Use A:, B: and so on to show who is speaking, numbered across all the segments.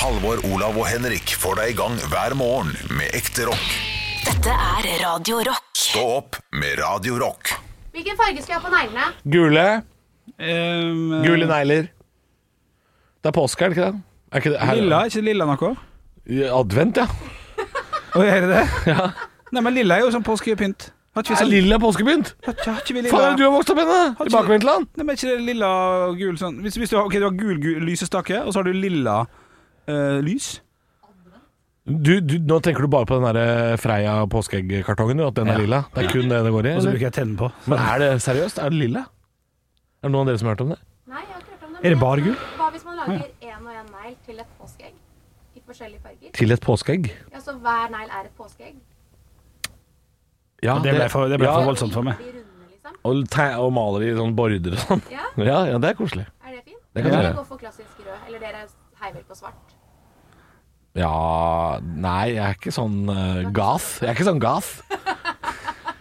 A: Halvor, Olav og Henrik får deg i gang hver morgen med ekte rock.
B: Dette er Radio Rock.
A: Stå opp med Radio Rock.
C: Hvilken farge skal jeg ha på neglene?
D: Gule.
E: Um,
D: Gule negler. Det er påske, er det ikke det? Er ikke det her-
E: Lilla, er ikke lilla noe?
D: Advent, ja.
E: Å, er det det? Nei, men lilla er jo sånn påskepynt. Har ikke vi
D: Er
E: sånn
D: lilla påskepynt?
E: Har ikke- har ikke vi
D: Faen, du
E: lilla
D: har vokst opp med det! I
E: ikke-
D: bakvendtland.
E: Nei, men er ikke det lilla og gul sånn hvis, hvis du, har, ok, du har gul, gul lysestake, og så har du lilla eh, lys.
D: Du, du, nå tenker du bare på den der eh, Freia påskeeggkartongen, du, at den er lilla. Det er kun det det går i.
E: Og så
D: eller?
E: bruker jeg tenne på.
D: Men er det seriøst? Er det lilla? Er det noen av dere som har hørt om det?
C: Nei, jeg har ikke hørt om det.
E: Er det
C: men
E: bare gul?
C: Hva hvis man lager én og én negl til et påskeegg? I forskjellige farger?
D: Til et påskeegg?
C: Ja, Så hver negl er et påskeegg?
D: Ja,
E: Og det ble for- det ble
D: ja,
E: for voldsomt. Sånn for meg.
C: De runde, liksom?
D: Og, te- og maler i sånn border og sånn.
C: Ja,
D: Ja, ja, det er koselig.
C: er det fint?
D: Det kan
C: Dere
D: dere.
C: går for klassisk rød, eller dere heier vel på svart?
D: Ja Nei, jeg er ikke sånn uh, gath. Jeg er ikke sånn gath.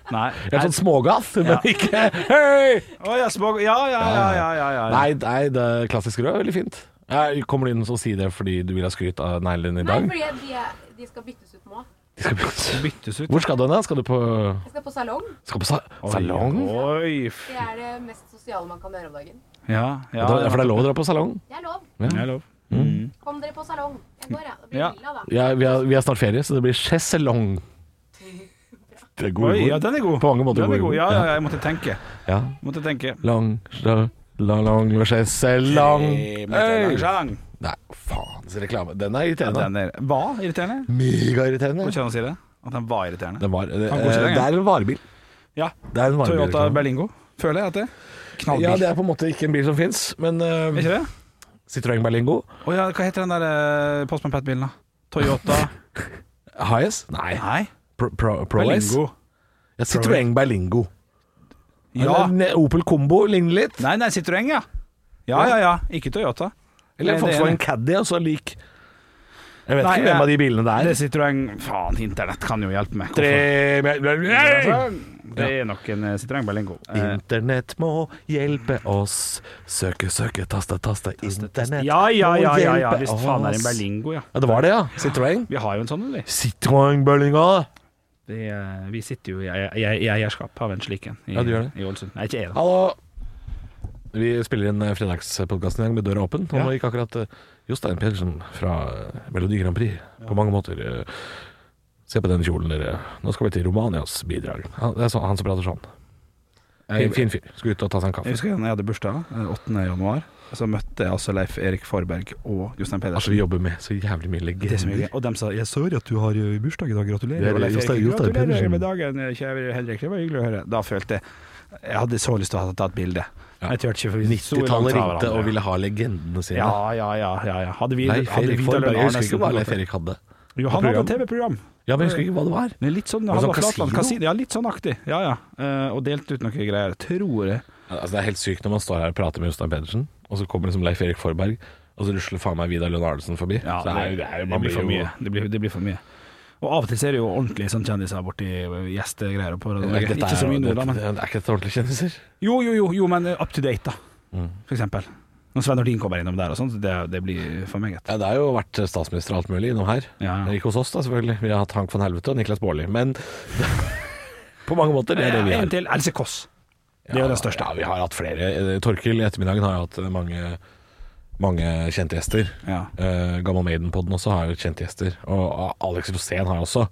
E: Nei.
D: Jeg er sånn smågath, men ikke Hei!
E: Å, ja, små, ja, ja, ja, ja, ja, ja.
D: Nei, nei, det er klassisk rød. Veldig fint. Jeg kommer du inn og sier det fordi du vil ha skryt av neglene dine i
C: Nei,
D: dag?
C: fordi de, er, de skal byttes ut nå.
D: De skal byttes.
E: Byttes ut.
D: Hvor skal du hen? da? Skal du på,
C: Jeg skal på salong.
D: skal på sa salong?
E: Oi. f-
C: Det er det mest sosiale man kan gjøre om dagen.
E: Ja, ja,
D: Da- For det er lov å dra på salong?
C: Det er lov.
E: Det er lov.
C: Kom dere på salong. Jeg går, ja. Det blir
E: Ja.
C: lilla, da.
D: Ja, vi, har, vi har snart ferie, så det blir sjeselong. Det er gode
E: Oi, ja,
D: ord.
E: den er god.
D: På mange måter
E: den er
D: god.
E: god. Ja, ja, ja, jeg måtte tenke.
D: Ja.
E: Måtte tenke.
D: Lang, sja- la- lang, sjeselong. Hey.
E: Lang.
D: Nei, faens reklame. Den er irriterende.
E: Den er, var irriterende. Går
D: Megairriterende.
E: ikke an å si det. At den var irriterende.
D: Den var, det,
E: Han går ikke lenger.
D: det er en varebil.
E: Ja.
D: Det er en varebil.
E: Toyota Berlingo, føler jeg at det er. Knallbil.
D: Ja, det er på en måte ikke en bil som fins, men eh,
E: Er ikke det?
D: Citroën Berlingo.
E: Å ja, hva heter den der eh, Postman Pat-bilen, da? Toyota
D: Highas? Nei.
E: Nei,
D: Pro- Pro- Proace?
E: Berlingo.
D: Ja, Citroën Berlingo.
E: Ja.
D: Eller en Opel Combo ligner litt.
E: Nei, nei, Citroën, ja. Ja, ja, ja. Ikke Toyota.
D: Eller
E: Nei,
D: en Volkswagen
E: det
D: Caddy, altså lik Jeg vet
E: Nei,
D: ikke hvem
E: jeg-
D: av de bilene det er.
E: Det er Citroën Faen, internett kan jo hjelpe meg.
D: Tre
E: Hvorfor? Det
D: Ja.
E: er nok en eh, Citroën Berlingo. Eh,
D: Internett må hjelpe oss. Søke, søke, taste, taste. Internett
E: ja, ja,
D: må
E: ja, ja, ja.
D: hjelpe
E: Hvis faen er
D: oss.
E: en Berlingo, ja.
D: Ja, det var det, ja. Citroën.
E: Vi har jo en sånn, eller?
D: Citroën Berlingo.
E: Det, eh, vi sitter jo i ei- ei- ei- eierskap av en slik en i,
D: Ja, du gjør det. Ah,
E: i Ålesund. Nei, ikke jeg, da.
D: Hallo. Vi spiller inn fredagspodkasten i dag med døra åpen. Og
E: Ja.
D: nå gikk akkurat eh, Jostein Pedersen fra eh, Melodi Grand Prix på mange måter eh, Se på den kjolen, dere. Nå skal vi til Romanias bidrag. Han, det er sånn, han som prater sånn. Fin, fin fyr. Skal ut og ta seg en
E: Jeg
D: kaffe.
E: husker da jeg hadde bursdag, den 8. januar, så møtte jeg altså Leif Erik Forberg og Jostein
D: Altså,
E: Pedersen.
D: vi jobber med så jævlig mye
E: Det som jeg-
D: legender.
E: og de sa 'Jeg så at du har ø,
D: eh,
E: bursdag i dag, gratulerer'.
D: Det er
E: Og Leif
D: Jostein-
E: Erik,
D: Jostein
E: gratulerer
D: Pedersen.
E: med dagen, eh, kjære Henrik. Det var hyggelig å høre. Da følte jeg Jeg hadde så lyst til å ha tatt bilde. Men Jeg turte ikke, for vi sto langt fra
D: 90-tallet ringte
E: hverandre.
D: og ville ha legendene sine.
E: ja, ja, ja, ja, ja. Hadde vi
D: Leif
E: hadde
D: Erik
E: Vidar
D: Forberg. Jeg husker
E: Lønn Arnesen
D: ikke hva
E: på
D: Leif
E: platen?
D: Erik hadde.
E: Jo, han hadde
D: program.
E: TV-program.
D: Ja, men jeg husker ikke hva det var.
E: Men Litt sånn,
D: Var det
E: Halvard
D: sånn
E: Flatland,
D: kasino?
E: kasino? Ja, litt sånn aktig. Ja, ja. Eh, og delte ut noe greier. Tror jeg.
D: Altså, det er helt sykt når man står her og prater med Jostein Pedersen, og så kommer liksom Leif Erik Forberg, og så rusler faen meg Vidar Lønn Arnesen forbi.
E: Ja,
D: Så det, er, jo- det, er, jo- man
E: blir for
D: jo-
E: mye. Det blir, det blir for mye. Og av og til så er det jo ordentlig sånn kjendiser borti gjestegreier. og På,
D: Ja, dette
E: ikke så
D: er,
E: mye nå,
D: det-
E: da, men
D: det, er ikke dette ordentlige kjendiser?
E: Jo, jo, jo, jo men eh, up to date, da.
D: Mm.
E: For eksempel. Når Svein Nordin kommer innom der og sånn, så det, det blir for meget.
D: Ja, det har jo vært eh, statsminister og alt mulig innom her.
E: Ja, ja.
D: Ikke hos oss, da, selvfølgelig. Vi har hatt Hank von Helvete og Niklas Baarli. Men på mange måter, det er det vi
E: En
D: har.
E: til Else Kåss. Det er jo den største.
D: Ja, vi har hatt flere. Eh, Torkil i ettermiddagen har hatt eh, mange, mange kjente gjester.
E: Ja.
D: Uh, Gammal Maiden-podden også har jo kjente gjester. Og Alex Rosén har også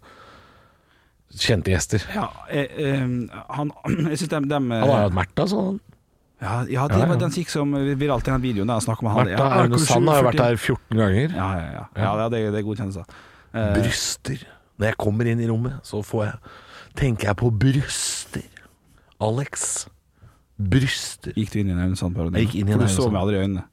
D: kjente gjester.
E: Ja, eh, eh, han Jeg syns dem, dem eh,
D: Han har jo hatt Märtha, sånn.
E: ja, ja, det
D: Ja, ja.
E: var den som gikk som viralt i den videoen der han snakker om han.
D: Märtha
E: Ja,
D: Aune Sand har jo vært
E: 47.
D: her 14 ganger. Eh,
E: Ja, ja, ja. ja det, er- det er godkjennelser.
D: Bryster. Når jeg kommer inn i rommet, så får jeg Tenker jeg på bryster. Alex. Bryster.
E: Gikk du inn i en Aune Sand-parodi?
D: Jeg gikk inn i en
E: For
D: Aune
E: Du så
D: Sand.
E: meg aldri i øynene.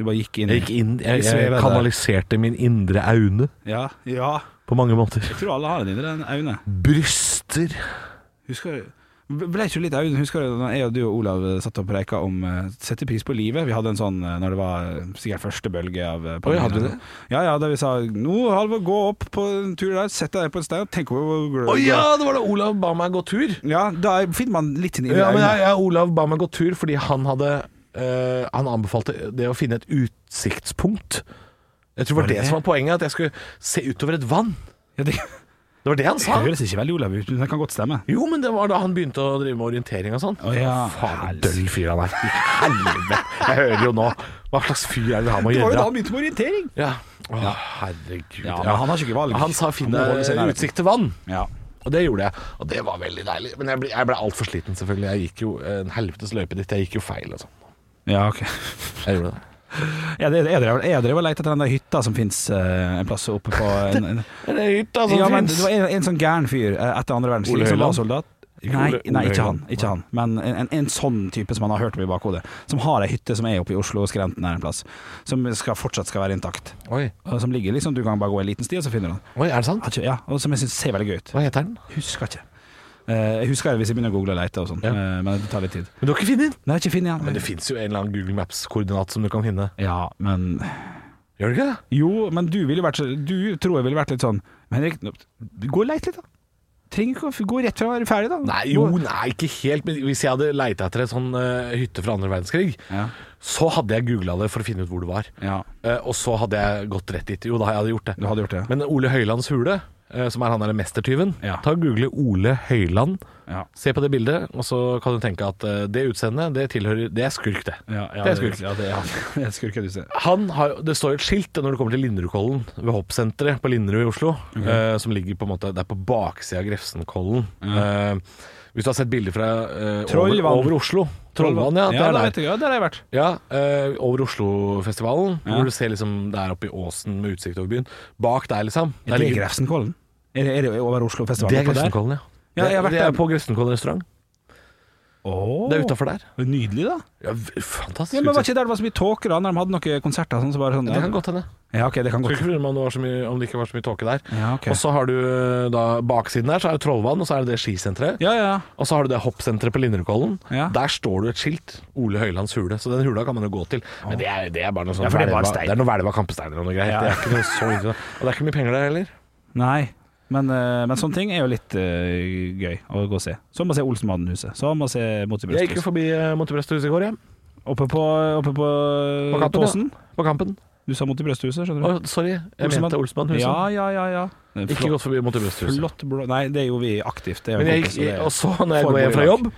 E: Du bare gikk inn. i-
D: Jeg gikk inn Jeg,
E: Vi
D: jeg
E: svever
D: kanaliserte min indre Aune
E: Ja, ja.
D: på mange måter.
E: Jeg tror alle har en indre en Aune.
D: Bryster.
E: Husker Ble ikke du litt Aune? Husker du da jeg og du og Olav eh, satt og preika om uh, sette pris på livet? Vi hadde en sånn eh, når det var eh, sikkert første bølge av uh,
D: Oi, hadde vi det?
E: Ja, ja, da vi sa nå, Halvor, gå opp på en tur der, sett deg på en stein og tenk over hvor glad
D: Å ja, det var da Olav ba meg gå tur.
E: Ja, da finner man litt sin indre
D: Ja, men
E: Aune.
D: jeg, jeg, Olav ba meg gå tur fordi han hadde eh, Han anbefalte det å finne et utsiktspunkt Jeg tror det
E: Var
D: var
E: det
D: det
E: det?
D: som var poenget, at jeg skulle se utover et vann.
E: Ja, det,
D: Det var det han
E: det
D: sa.
E: høres ikke veldig Olav ut, men det kan godt stemme.
D: Jo, men det var da han begynte å drive med orientering og sånn.
E: Å, ja.
D: Faen, døll fyr han er. I Helvete. Jeg hører jo nå. Hva slags fyr er det han må
E: Det var jo
D: gjøre?
E: da han begynte med orientering!
D: Ja. Å, herregud.
E: Ja, men han har ikke valg.
D: Han sa
E: Han må
D: finne
E: holde seg i nærheten.
D: utsikt til vann.
E: Ja.
D: Og det gjorde jeg, og det var veldig deilig. Men jeg ble, jeg ble altfor sliten, selvfølgelig. Jeg gikk jo en helvetes løype dit. Jeg gikk jo feil og sånn.
E: Ja, ok.
D: Jeg gjorde det.
E: Jeg drev, jeg drev, jeg drev og lette etter den der hytta som fins en plass oppe på en, en,
D: Er det hytta som
E: Ja, men
D: finnes?
E: det var en, en sånn gæren fyr eh, etter andre
D: Ole
E: verdenskrig som var
D: Høiland?
E: soldat.
D: Ikke
E: Nei,
D: Ole-
E: nei,
D: Ole
E: ikke han,
D: Høiland.
E: ikke han. men en, en, en sånn type som han har hørt om i bakhodet. Som har ei hytte som er oppe i Oslo og skrenten her en plass. Som skal, fortsatt skal være intakt.
D: Oi.
E: Og Som ligger liksom, Du kan bare gå en liten sti, og så finner du den.
D: Oi, er det sant?
E: Har ikke- Ja, og Som jeg syns ser veldig gøy ut.
D: Hva heter den?
E: Husker ikke. Eh, Jeg husker det hvis jeg begynner å google og lete, og sånn,
D: Ja.
E: eh, men det tar litt tid.
D: Men du har ikke funnet den?
E: Nei, ikke finn igjen.
D: Men det fins jo en eller annen Google Maps-koordinat som du kan finne.
E: ja, men
D: Gjør det ikke det?
E: Jo, men du ville vært så- Du tror jeg ville vært litt sånn Men Henrik, nå- gå og leit litt, da. Trenger ikke å gå rett fra å være ferdig, da.
D: Nei, jo, nei, ikke helt. Men hvis jeg hadde leita etter en sånn eh, hytte fra andre verdenskrig,
E: Ja.
D: så hadde jeg googla det for å finne ut hvor det var.
E: Ja.
D: Eh, og så hadde jeg gått rett dit. Jo da, jeg hadde gjort det.
E: Du hadde gjort det, ja.
D: Men Ole Høilands hule, eh, som er han derre mestertyven,
E: Ja.
D: ta og google Ole Høiland.
E: Ja.
D: Se på det bildet, og så kan du tenke at eh, det utseendet, det tilhører Det er skurk, det.
E: Ja, ja,
D: det er skurk.
E: Ja, det, ja, det er skurk, ja, du ser.
D: Han har, det står et skilt når du kommer til Linderudkollen, ved hoppsenteret på Linderud i Oslo,
E: Mhm.
D: eh, som ligger på en måte Det er på baksida av Grefsenkollen. Eh, hvis du har sett bilder fra eh, over,
E: Trollvann.
D: over Oslo Trollvann, ja.
E: ja,
D: Det er
E: da
D: der.
E: vet jeg, ja, der har jeg vært.
D: Ja, eh, over Oslofestivalen,
E: Ja.
D: hvor du ser liksom det er oppe i åsen med utsikt over byen. Bak der, liksom. Der
E: Er det
D: ligger-
E: Grefsenkollen? Er det, er det over Oslofestivalen?
D: det er
E: oppe der?
D: Grefsenkollen, ja.
E: Ja, jeg har vært
D: det, det er
E: der.
D: på Grefsenkollen restaurant.
E: Åh.
D: Det er utafor der.
E: Nydelig, da.
D: Ja, v- fantastisk.
E: Ja, men Var ikke der det var så mye tåke da, når de hadde noen konserter? Sånn, så bare sånn,
D: det kan godt hende.
E: Ja, ok, det
D: Skulle
E: kan godt.
D: ikke forundre meg om det, var så mye, om det ikke var så mye tåke der.
E: Ja, ok.
D: Og så har du eh, da baksiden der, så er det Trollvann, og så er det det skisenteret.
E: Ja, ja.
D: Og så har du det hoppsenteret på Linderudkollen.
E: Ja.
D: Der står det et skilt. Ole Høilands hule. Så den hula kan man jo gå til. Men det er, det er bare noe sånn
E: Ja, for det er bare
D: velva-
E: stein.
D: det er noe hvelva kampesteiner og noe greit.
E: Ja.
D: Det er ikke noe så interessant. Og det er ikke mye penger der heller.
E: Nei. Men, eh, men sånne ting er jo litt eh, gøy å gå og se. Som å se Olsenmannen-huset. Som å Sånn se Mot i
D: Jeg gikk jo
E: brystet.
D: forbi eh, Monte Brøsthuset i går, jeg.
E: Oppe på, oppe på,
D: På Kampen, ja.
E: Tåsen.
D: På Kampen.
E: Du sa Mot i brysthuset, skjønner du.
D: Å, sorry, jeg mente Olsmannhuset.
E: Ja, ja, ja. ja.
D: Ikke gått forbi Monte Brøsthuset.
E: Flott blå Nei, det gjorde vi aktivt. Det er jo
D: Men jeg
E: en kompis,
D: gikk,
E: det er-
D: og så, når jeg
E: Formål
D: går hjem
E: i
D: fra
E: dag.
D: jobb,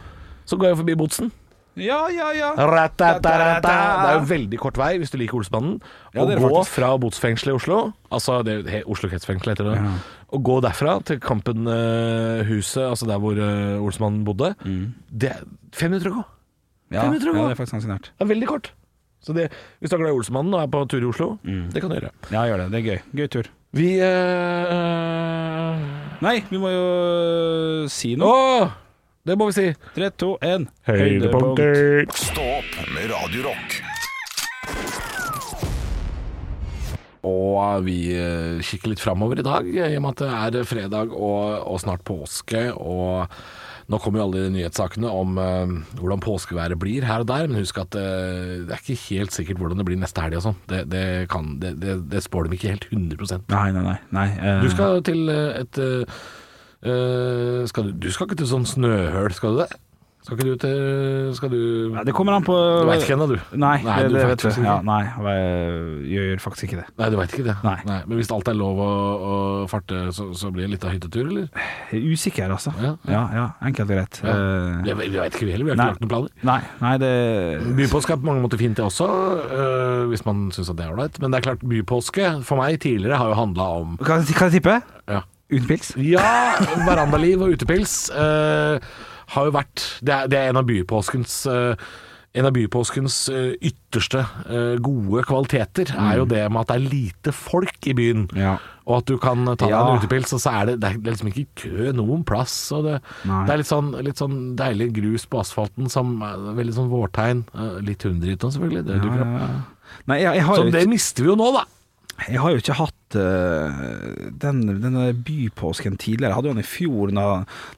D: så går jeg forbi Botsen.
E: Ja, ja, ja.
D: Ratatarata. Det er jo veldig kort vei hvis du liker Olsmannen.
E: Ja,
D: Å
E: det er det
D: gå
E: faktisk.
D: fra botsfengselet i Oslo, altså det er jo he, Oslo kretsfengsel heter det,
E: Ja.
D: å gå derfra til Kampen-huset, altså der hvor eh, Olsmannen bodde,
E: Mm.
D: det er fem minutter å gå.
E: Ja,
D: Fem minutter å gå.
E: ja, det er faktisk ganske nært.
D: Det er veldig kort. Så det, hvis du er glad i Olsmannen og er på tur i Oslo,
E: Mm.
D: det kan du gjøre.
E: Ja, gjør det. Det er gøy. Gøy tur.
D: Vi eh,
E: Nei, vi må jo eh, si
D: Å!
E: noe.
D: Det må vi si.
E: Tre, to, én.
A: Stå opp med Radio Rock.
D: Og vi eh, kikker litt framover i dag, i og med at det er fredag og, og snart påske. Og nå kommer jo alle de nyhetssakene om eh, hvordan påskeværet blir her og der. Men husk at eh, det er ikke helt sikkert hvordan det blir neste helg og sånn. Det, det, kan- det, det, det spår dem ikke helt 100
E: Nei, nei, nei. nei. eh,
D: Du skal til eh, et eh, eh, skal du, du skal ikke til sånn snøhøl, skal du det? Skal ikke du til Skal du
E: Nei, Det kommer an på
D: Du veit ikke ennå, du?
E: Nei, det,
D: du
E: det
D: vet
E: vet
D: faktisk
E: du.
D: ikke.
E: Ja, nei, jeg gjør faktisk ikke det.
D: Nei, du veit ikke det.
E: Nei.
D: Men hvis alt er lov å, å farte, så, så blir det litt av hyttetur, eller?
E: Jeg er usikker, altså.
D: Ja,
E: ja, ja enkelt og greit. Eh,
D: Vi, vi veit ikke vi heller, vi har
E: Nei.
D: ikke lagt noen planer.
E: Nei, nei, det
D: Bypåske er på mange måter fint det også, øh, hvis man syns at det er ålreit. Men det er klart, bypåske for meg tidligere har jo handla om
E: Kan jeg, kan jeg tippe?
D: ja.
E: Uten pils?
D: ja, verandaliv og utepils øh, har jo vært Det er, det er en av bypåskens øh, en av bypåskens øh, ytterste øh, gode kvaliteter er jo det med at det er lite folk i byen.
E: Mm. Ja.
D: Og at du kan ta deg
E: Ja.
D: en utepils, og så er det, det er liksom ikke kø noen plass. Og det,
E: Nei.
D: det er litt sånn, litt sånn deilig grus på asfalten, som er veldig sånn vårtegn. Eh, Litt hundedrit nå, selvfølgelig. Det dukker opp.
E: Eh, Nei, jeg, jeg, har
D: Så
E: jo
D: det mister vi jo nå, da.
E: ikke, jeg har jo ikke hatt eh, den, denne bypåsken tidligere. Jeg hadde jo den i fjor, na,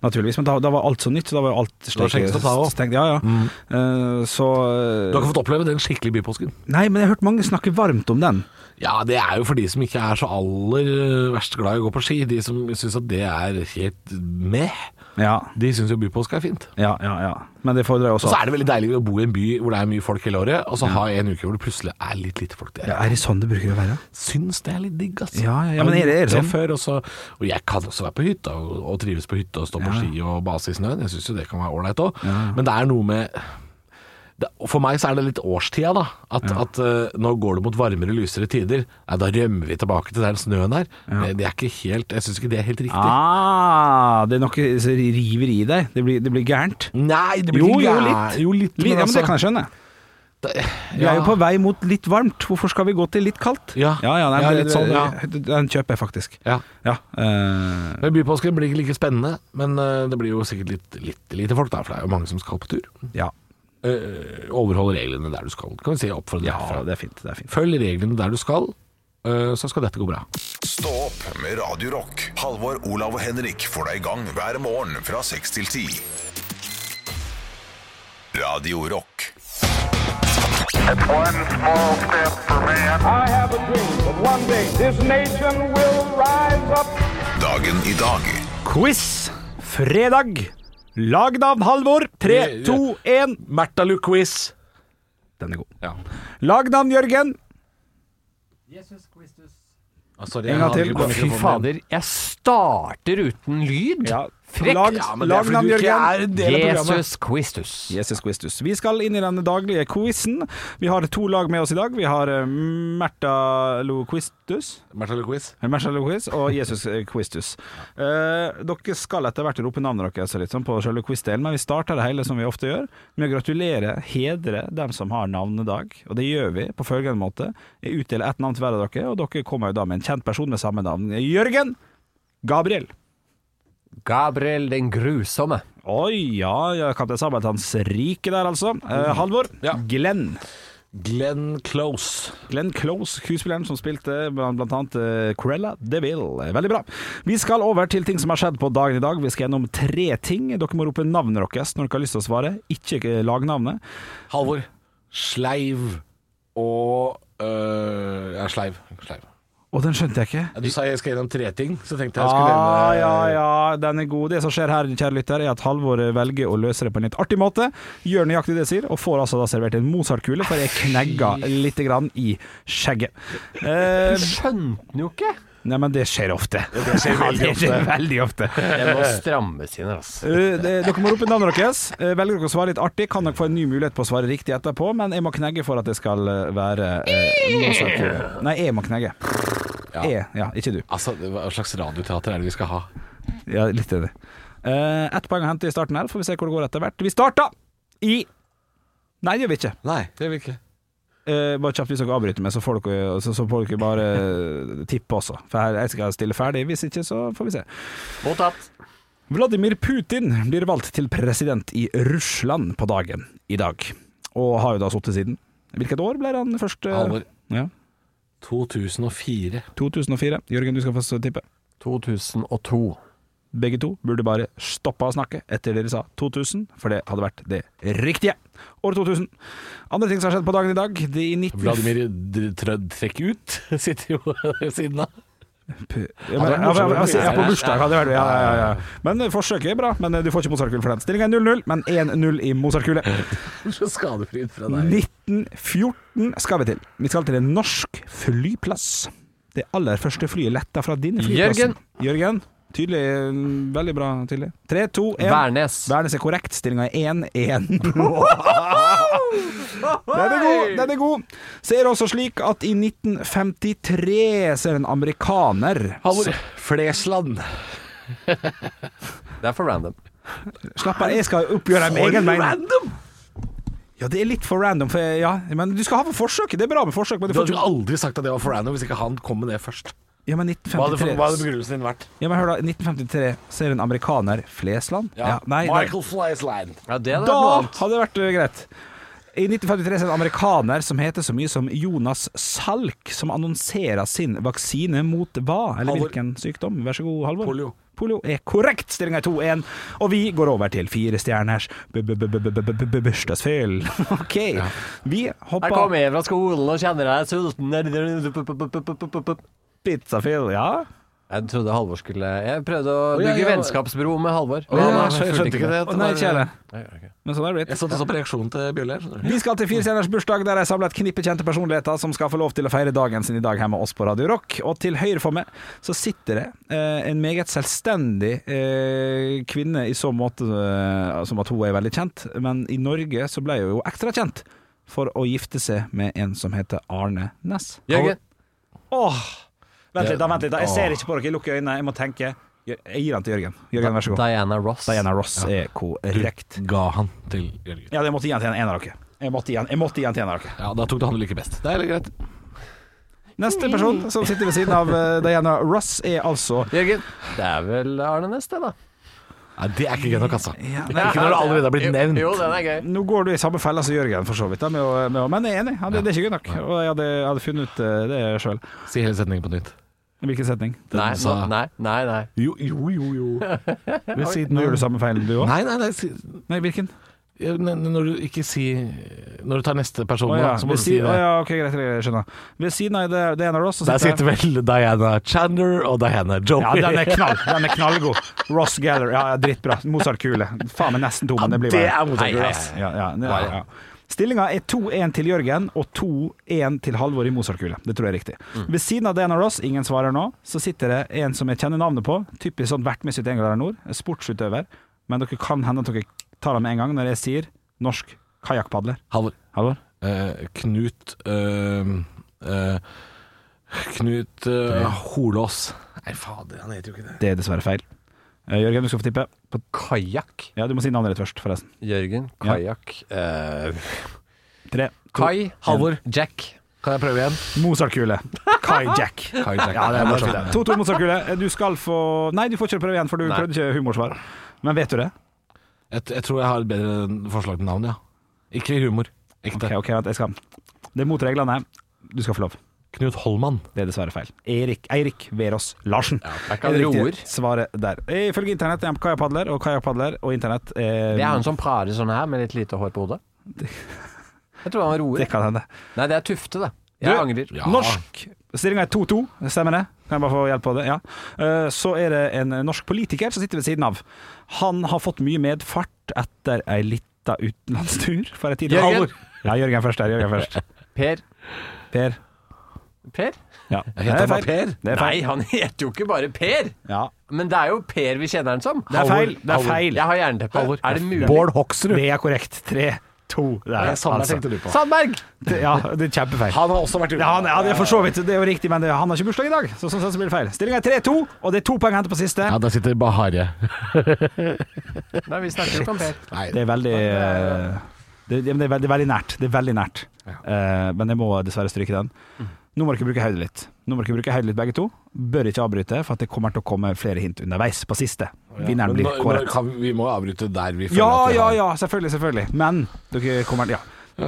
E: naturligvis, men da, da var alt så nytt. Så da var jo alt
D: var kjekt å ta også. Mm.
E: stengt. Ja, ja. Eh, så
D: Du har ikke fått oppleve den skikkelige bypåsken.
E: Nei, men jeg har hørt mange snakke varmt om den.
D: Ja, det er jo for de som ikke er så aller eh, verst glad i å gå på ski. De som syns at det er helt meh.
E: Ja,
D: De syns jo bypåske er fint.
E: ja, ja. ja. Men det fordrer
D: Og
E: jo også
D: så er det veldig deilig å bo i en by hvor det er mye folk hele året, og så ha en uke hvor det plutselig er litt lite folk der.
E: ja, Er det sånn det bruker å være?
D: Syns det er litt digg, altså. ass.
E: Ja, ja, ja, men er det- er det
D: Jeg
E: sånn?
D: Før også, og jeg kan også være på hytta, og, og trives på hytta og stå på
E: Ja.
D: ski og base i snøen. Jeg syns jo det kan være ålreit òg, men det er noe med det, for meg så er det litt årstida, da. At, at eh, nå går det mot varmere, lysere tider. Nei, da rømmer vi tilbake til den snøen der. Det, det er ikke helt Jeg syns ikke det er helt riktig.
E: Ah, det er noe som river i deg. Det blir, det blir gærent.
D: Nei, det blir
E: Jo,
D: ikke
E: jo,
D: gæ-
E: litt.
D: Jo, litt, altså.
E: Litt, ja, men det kan jeg skjønne. Vi
D: ja.
E: er jo på vei mot litt varmt. Hvorfor skal vi gå til litt kaldt?
D: Ja.
E: ja, nei,
D: Ja,
E: men
D: litt sånn, ja.
E: det- Den kjøper jeg faktisk.
D: Ja.
E: Ja, eh,
D: Men Bypåsken blir ikke like spennende, men eh, det blir jo sikkert litt, litt lite folk der, for det er jo mange som skal på tur.
E: ja.
D: Eh, Overhold reglene der du skal, kan vi si oppfordre
E: ja
D: derfra.
E: det er fint. Det er fint.
D: Følg reglene der du skal, eh, så skal dette gå bra.
A: Stå opp med Radio Rock. Halvor, Olav og Henrik får deg i gang hver morgen fra 6 til 10. Radio Rock.
F: One small step for man.
G: I have a dream that one day this nation will rise up.
A: Dagen i dag.
E: Quiz fredag. Lag navn, Halvor. Tre, to, én.
D: Märtha Lucquiz.
E: Den er god.
D: Ja.
E: Lag navn, Jørgen.
D: Ah, sorry,
E: En gang til.
H: Fy fader, jeg starter uten lyd.
E: Ja.
H: Frekk.
E: Lag,
D: Ja, men det er
E: lag
D: fordi
E: navn,
D: du ikke
E: Jørgen.
D: er en del av programmet.
H: Jesus Christus.
E: Jesus Christus. Vi skal inn i den daglige quizen. Vi har to lag med oss i dag. Vi har eh, Märtha Loquistus
D: Märtha Lucquiz.
E: Märtha Loquist og Jesus eh, Christus. Eh, dere skal etter hvert rope navnet deres litt sånn på selve quiz-delen, men vi starter det hele som vi ofte gjør, med å gratulere, hedre dem som har navnedag. Og det gjør vi på følgende måte. Jeg utdeler ett navn til hver av dere, og dere kommer jo da med en kjent person med samme navn. Jørgen Gabriel.
H: Gabriel den grusomme.
E: Oi, ja, ja Kaptein Sabeltanns rike der, altså. Eh, Halvor.
D: Ja.
E: Glenn.
D: Glenn Close.
E: Glenn Close, skuespilleren som spilte blant blant annet eh, Cruella DeVille. Veldig bra. Vi skal over til ting som har skjedd på dagen i dag. Vi skal gjennom tre ting. Dere må rope navnet deres når dere har lyst til å svare, ikke eh, lagnavnet.
D: Halvor. Sleiv og øh, Ja, sleiv. sleiv.
E: Å, den skjønte jeg ikke.
D: Ja, Du sa jeg skal gjennom tre ting, så tenkte jeg jeg skulle
E: Ja,
D: nevne
E: ja, ja, den er god. Det som skjer her, kjære lytter, er at Halvor velger å løse det på en litt artig måte. Gjør nøyaktig det jeg sier, og får altså da servert en Mozart-kule, for jeg knegga lite grann i skjegget. Eh,
H: Skjønte den jo ikke!
E: nei, men det skjer ofte.
D: Det skjer veldig
E: Det skjer
D: ofte.
E: veldig ofte.
H: Det må strammes inn, altså.
E: Eh, det- dere må rope navnet deres. Eh, velger dere å svare litt artig, kan dere få en ny mulighet på å svare riktig etterpå, men jeg må knegge for at det skal eh, være eh, noe sagt. Nei, jeg må knegge. E, ja, ikke du.
D: Altså, hva slags radioteater er det vi skal ha?
E: Ja, litt enig. Eh, Ett poeng å hente i starten her, får vi se hvor det går etter hvert. Vi starta i Nei, det gjør vi ikke.
D: Nei, det vil vi ikke.
E: Eh, bare kjapt hvis dere avbryter meg, så får dere, så, så får dere bare eh, tippe også. For her, jeg skal stille ferdig. Hvis ikke, så får vi se.
H: Mottatt.
E: Vladimir Putin blir valgt til president i Russland på dagen i dag, og har jo da sittet siden. Hvilket år ble han først? eh,
D: Halvor.
E: Ja,
D: 2004.
E: 2004. Jørgen, du skal få s- tippe.
H: 2002.
E: Begge to burde bare stoppe å snakke etter dere sa 2000, for det hadde vært det riktige. År 2000. Andre ting som har skjedd på dagen i dag. Det i 19...
D: Vladimir Dr- Trødd trekk ut sitter jo ved siden av.
E: Ja, men, ja, ja, ja, ja, ja, på bursdag hadde det vært ja, ja, ja. Men eh, forsøket er bra, men eh, du får ikke Mozart-kule for den. Stillinga er 0-0, men 1-0 i Mozart-kule.
D: Så skadefryd fra deg.
E: 1914 skal vi til. Vi skal til en norsk flyplass. Det aller første flyet letta fra din flyplass.
H: Jørgen.
E: Jørgen. Tydelig. mm, Veldig bra. tydelig. Tre, to, én.
H: Værnes.
E: Værnes er korrekt. Stillinga er 1-1. Den er god! den er god Så er det også slik at i 1953 så er det en amerikaner
D: Halvor Flesland.
H: Det er for random.
E: Slapp av, jeg skal oppgjøre en egen mening.
D: random!
E: Ja, det er litt for random, for, ja, men du skal ha for forsøk. Det er bra med forsøk, men
D: Du
E: du får
D: hadde jo
E: ikke
D: aldri sagt at det var for random hvis ikke han kom med det først.
E: Ja, men
D: Hva hadde,
E: 1953
D: hva hadde begrunnelsen din vært?
E: Ja, men hør da, 1953 ser en amerikaner Flesland? Ja, nei, nei.
D: Michael Flesland.
H: Ja, det hadde
E: Da
H: vært noe annet.
E: hadde det vært eh, greit. I 1953 ser en amerikaner som heter så mye som Jonas Salk, som annonserer sin vaksine mot hva? Eller
D: Halvor.
E: hvilken sykdom? Vær så god, Halvor.
D: Polio.
E: Polio er korrekt. Stillinga er 2-1. Og vi går over til fire stjerners bu- bu- bu- bu- bu- bu- bu- bu- bursdagsfyll. OK. Vi
H: Jeg kommer
E: hopper
H: hjem fra skolen og kjenner jeg er sulten.
E: pizzafyll, ja.
H: Jeg trodde Halvor skulle Jeg prøvde å
D: ja,
H: bygge
D: ja.
H: vennskapsbro med Halvor.
D: Å, ja,
H: men han
D: jeg skjønte
H: fulgte
D: ikke det.
H: Det
E: Å, nei,
H: var- eh,
E: ikke heller.
H: Nei, ok.
E: Men sånn er det
D: Jeg
E: blitt.
D: satte også på reaksjonen til Bjørle. her, skjønner du.
E: Vi skal til firestjerners bursdag, der jeg samla et knippe kjente personligheter som skal få lov til å feire dagen sin i dag her med oss på Radio Rock. Og til høyre for meg så sitter det eh, en meget selvstendig eh, kvinne i så måte eh, som at hun er veldig kjent, men i Norge så ble hun jo ekstra kjent for å gifte seg med en som heter Arne Næss.
H: Jørgen.
E: Åh, vent litt, da, vent litt. da Jeg ser ikke på dere, jeg lukker øynene, jeg må tenke. Jeg gir den til Jørgen. Jørgen, vær så god.
H: Diana Ross.
E: Diana Ross er korrekt.
D: Ga han til Jørgen.
E: Ja, jeg måtte gi den til en av dere. Jeg måtte gi den- jeg måtte gi den til en av dere.
D: Ja, da tok det han like best. Det er greit.
E: Neste person som sitter ved siden av eh, Diana Ross, er altså
H: Jørgen. Det er vel Arne Næss, det, da.
D: Nei, det er ikke gøy nok, altså.
H: Ikke
D: når det allerede har blitt nevnt.
H: Jo, jo, den er gøy.
E: Nå går du i samme fella som Jørgen, for så vidt. Da, med å, med å, men jeg er enig, ja, det, det er ikke godt nok. Og jeg hadde, jeg hadde funnet ut eh, det sjøl.
D: Si hele setningen på nytt.
E: Hvilken setning?
H: Nei,
D: sa-
H: nå- nei, nei. nei.
D: Jo, jo, jo. jo. Ved siden
E: Nå gjør
D: av
E: du samme feil, du òg?
D: Nei, nei, nei. Si,
E: Nei, hvilken?
D: ja, n- n- når du ikke sier Når du tar neste person,
E: Å ja.
D: da, så må
E: Ved
D: du si
E: siden,
D: det.
E: å, ja, ok, greit, greit, greit, skjønner. Ved siden av det- Diana Ross så
D: Der sitter vel Diana Chander og Diana
E: ja,
D: Joey.
E: den er knall, den er knallgod. Ross Geller, ja, ja drittbra. Mozart-kule. Faen meg nesten to, men det blir
D: det
E: bare-
D: er motsatt.
H: Nei,
D: ass.
E: ja, ja, ja, ja. Stillinga er 2-1 til Jørgen og 2-1 til Halvor i Mozart-kule. Det tror jeg er riktig. Ved siden av Diana Ross, ingen svarer nå, så sitter det en som jeg kjenner navnet på. Typisk sånn vert med 71 grader nord. en Sportsutøver. Men dere kan hende at dere tar det med en gang når jeg sier norsk kajakkpadler.
D: Halvor.
E: Halvor?
D: Eh, Knut eh, eh, Knut eh, Holås. Nei, fader, han heter jo ikke det.
E: Det er dessverre feil. Eh, Jørgen, du skal få tippe. På
H: Kajakk.
E: ja, du må si navnet ditt først, forresten.
H: Jørgen.
E: Ja.
H: Kajakk. Eh,
E: Tre. to,
H: Kai. Halvor. Jack.
D: Kan jeg prøve igjen?
E: Mozart-kule. Kajakk. Ja, det er morsomt. 2-2 Mozart-kule. Eh, Du skal få Nei, du får ikke prøve igjen, for du
D: Nei.
E: prøvde ikke humorsvar. Men vet du det?
D: Jeg, jeg tror jeg har et bedre forslag til navn, ja. Ikke humor. Ekte.
E: Ok, ok, vent, jeg skal Det er mot reglene. Du skal få lov.
D: Knut Holman.
E: Det er dessverre feil. Erik, Eirik Verås Larsen. Ja,
H: er ikke han roer?
E: Svaret der. Ifølge internett er han kajapadler, og kajapadler og internett eh,
H: Det er han som prater sånn her, med litt lite hår på hodet. Jeg tror han roer.
E: Det kan hende.
H: Nei, det er Tufte, det. Jeg
E: Du-
H: angrer.
D: Ja.
E: Norsk. Stillinga er 2-2, stemmer det? Kan jeg bare få hjelp på det? Ja. Eh, Så er det en norsk politiker som sitter ved siden av. Han har fått mye medfart etter ei lita utenlandstur for ei tid
H: Jørgen.
E: Halvor. Ja, Jørgen først der. Jørgen først.
H: Per.
E: Per.
H: Per?
E: Ja.
D: heter
E: Det er
D: han bare
E: feil.
D: Per?
E: Det er
H: Nei,
E: feil.
H: han heter jo ikke bare Per!
E: Ja.
H: Men det er jo Per vi kjenner han som.
E: Det er feil. Det er
D: Halvor.
E: feil.
H: Jeg har jernteppe. Er det mulig?
D: Bård Hoksrud.
E: Det er korrekt. Tre, to Det
D: Det
E: er
D: er samme
E: altså.
D: tenkte du på.
H: Sandberg!
E: Det- Ja, det er kjempefeil.
D: Han har også vært ute.
E: ja, han, ja, det er for så vidt. Det er jo riktig, men det, han har ikke bursdag i dag. Så sånn sett så blir det feil. Stillinga er 3-2, og det er to poeng å hente på siste.
D: Ja, der sitter Bahareh.
H: Nei, vi snakker jo ikke om Per.
D: Nei,
E: Det er veldig eh, det, det, men det, er veldig, det er veldig nært. Det er veldig nært. Eh, men jeg må dessverre stryke den.
D: Mm.
E: Nå må dere bruke hodet litt. Nå må dere bruke hodet litt, begge to. Bør ikke avbryte, for at det kommer til å komme flere hint underveis på siste. Vinneren
D: Men
E: blir
D: nå- nå
E: kåret.
D: kan vi- Vi må avbryte der vi føler
E: Ja,
D: at vi
E: ja,
D: har
E: ja, selvfølgelig, selvfølgelig. Men dere kommer Ja.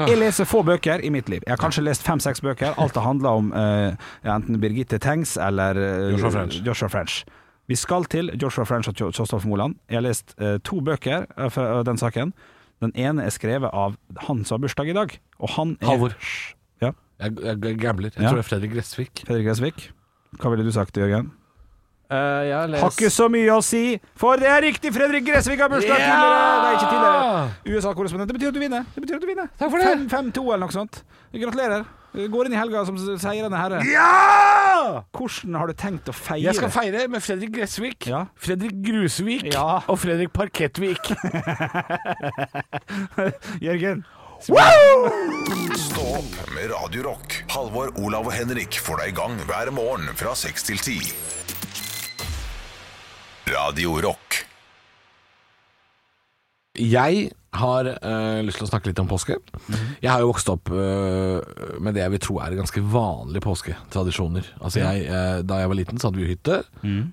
E: Jeg leser få bøker i mitt liv. Jeg har kanskje lest fem-seks bøker. Alt det handler om eh, ja, enten Birgitte Tengs eller eh,
D: Joshua French.
E: Joshua French. Vi skal til Joshua French og Jo- Kjostolf Moland. Jeg har lest eh, to bøker eh, fra den saken. Den ene er skrevet av han som har bursdag i dag, og han er
D: Halvor.
E: Ja,
D: Jeg, jeg, jeg gambler. Jeg
E: Ja.
D: tror det er Fredrik Gressvik.
E: Fredrik Gressvik. Hva ville du sagt, Jørgen?
H: Eh, jeg har
E: Har ikke så mye å si, for det er riktig! Fredrik Gressvik har bursdag tidligere! Nei, ikke tidligere. USA-korrespondent. Det betyr at du vinner. Det betyr at du vinner. Takk for det. 5-2 eller noe sånt. Gratulerer. Du Går inn i helga som seirende herre.
D: Ja!
E: Hvordan har du tenkt å feire?
D: Jeg skal feire med Fredrik Gressvik,
E: Ja.
D: Fredrik Grusvik
E: Ja.
D: og Fredrik Parkettvik.
E: Jørgen.
A: Stå opp med Radio Rock. Halvor, Olav og Henrik får deg i gang hver morgen fra 6 til 10. Radio Rock.
D: Jeg har eh, lyst til å snakke litt om påske. Jeg har jo vokst opp eh, med det jeg vil tro er ganske vanlige påsketradisjoner. Altså jeg, eh, da jeg var liten, så hadde vi jo hytte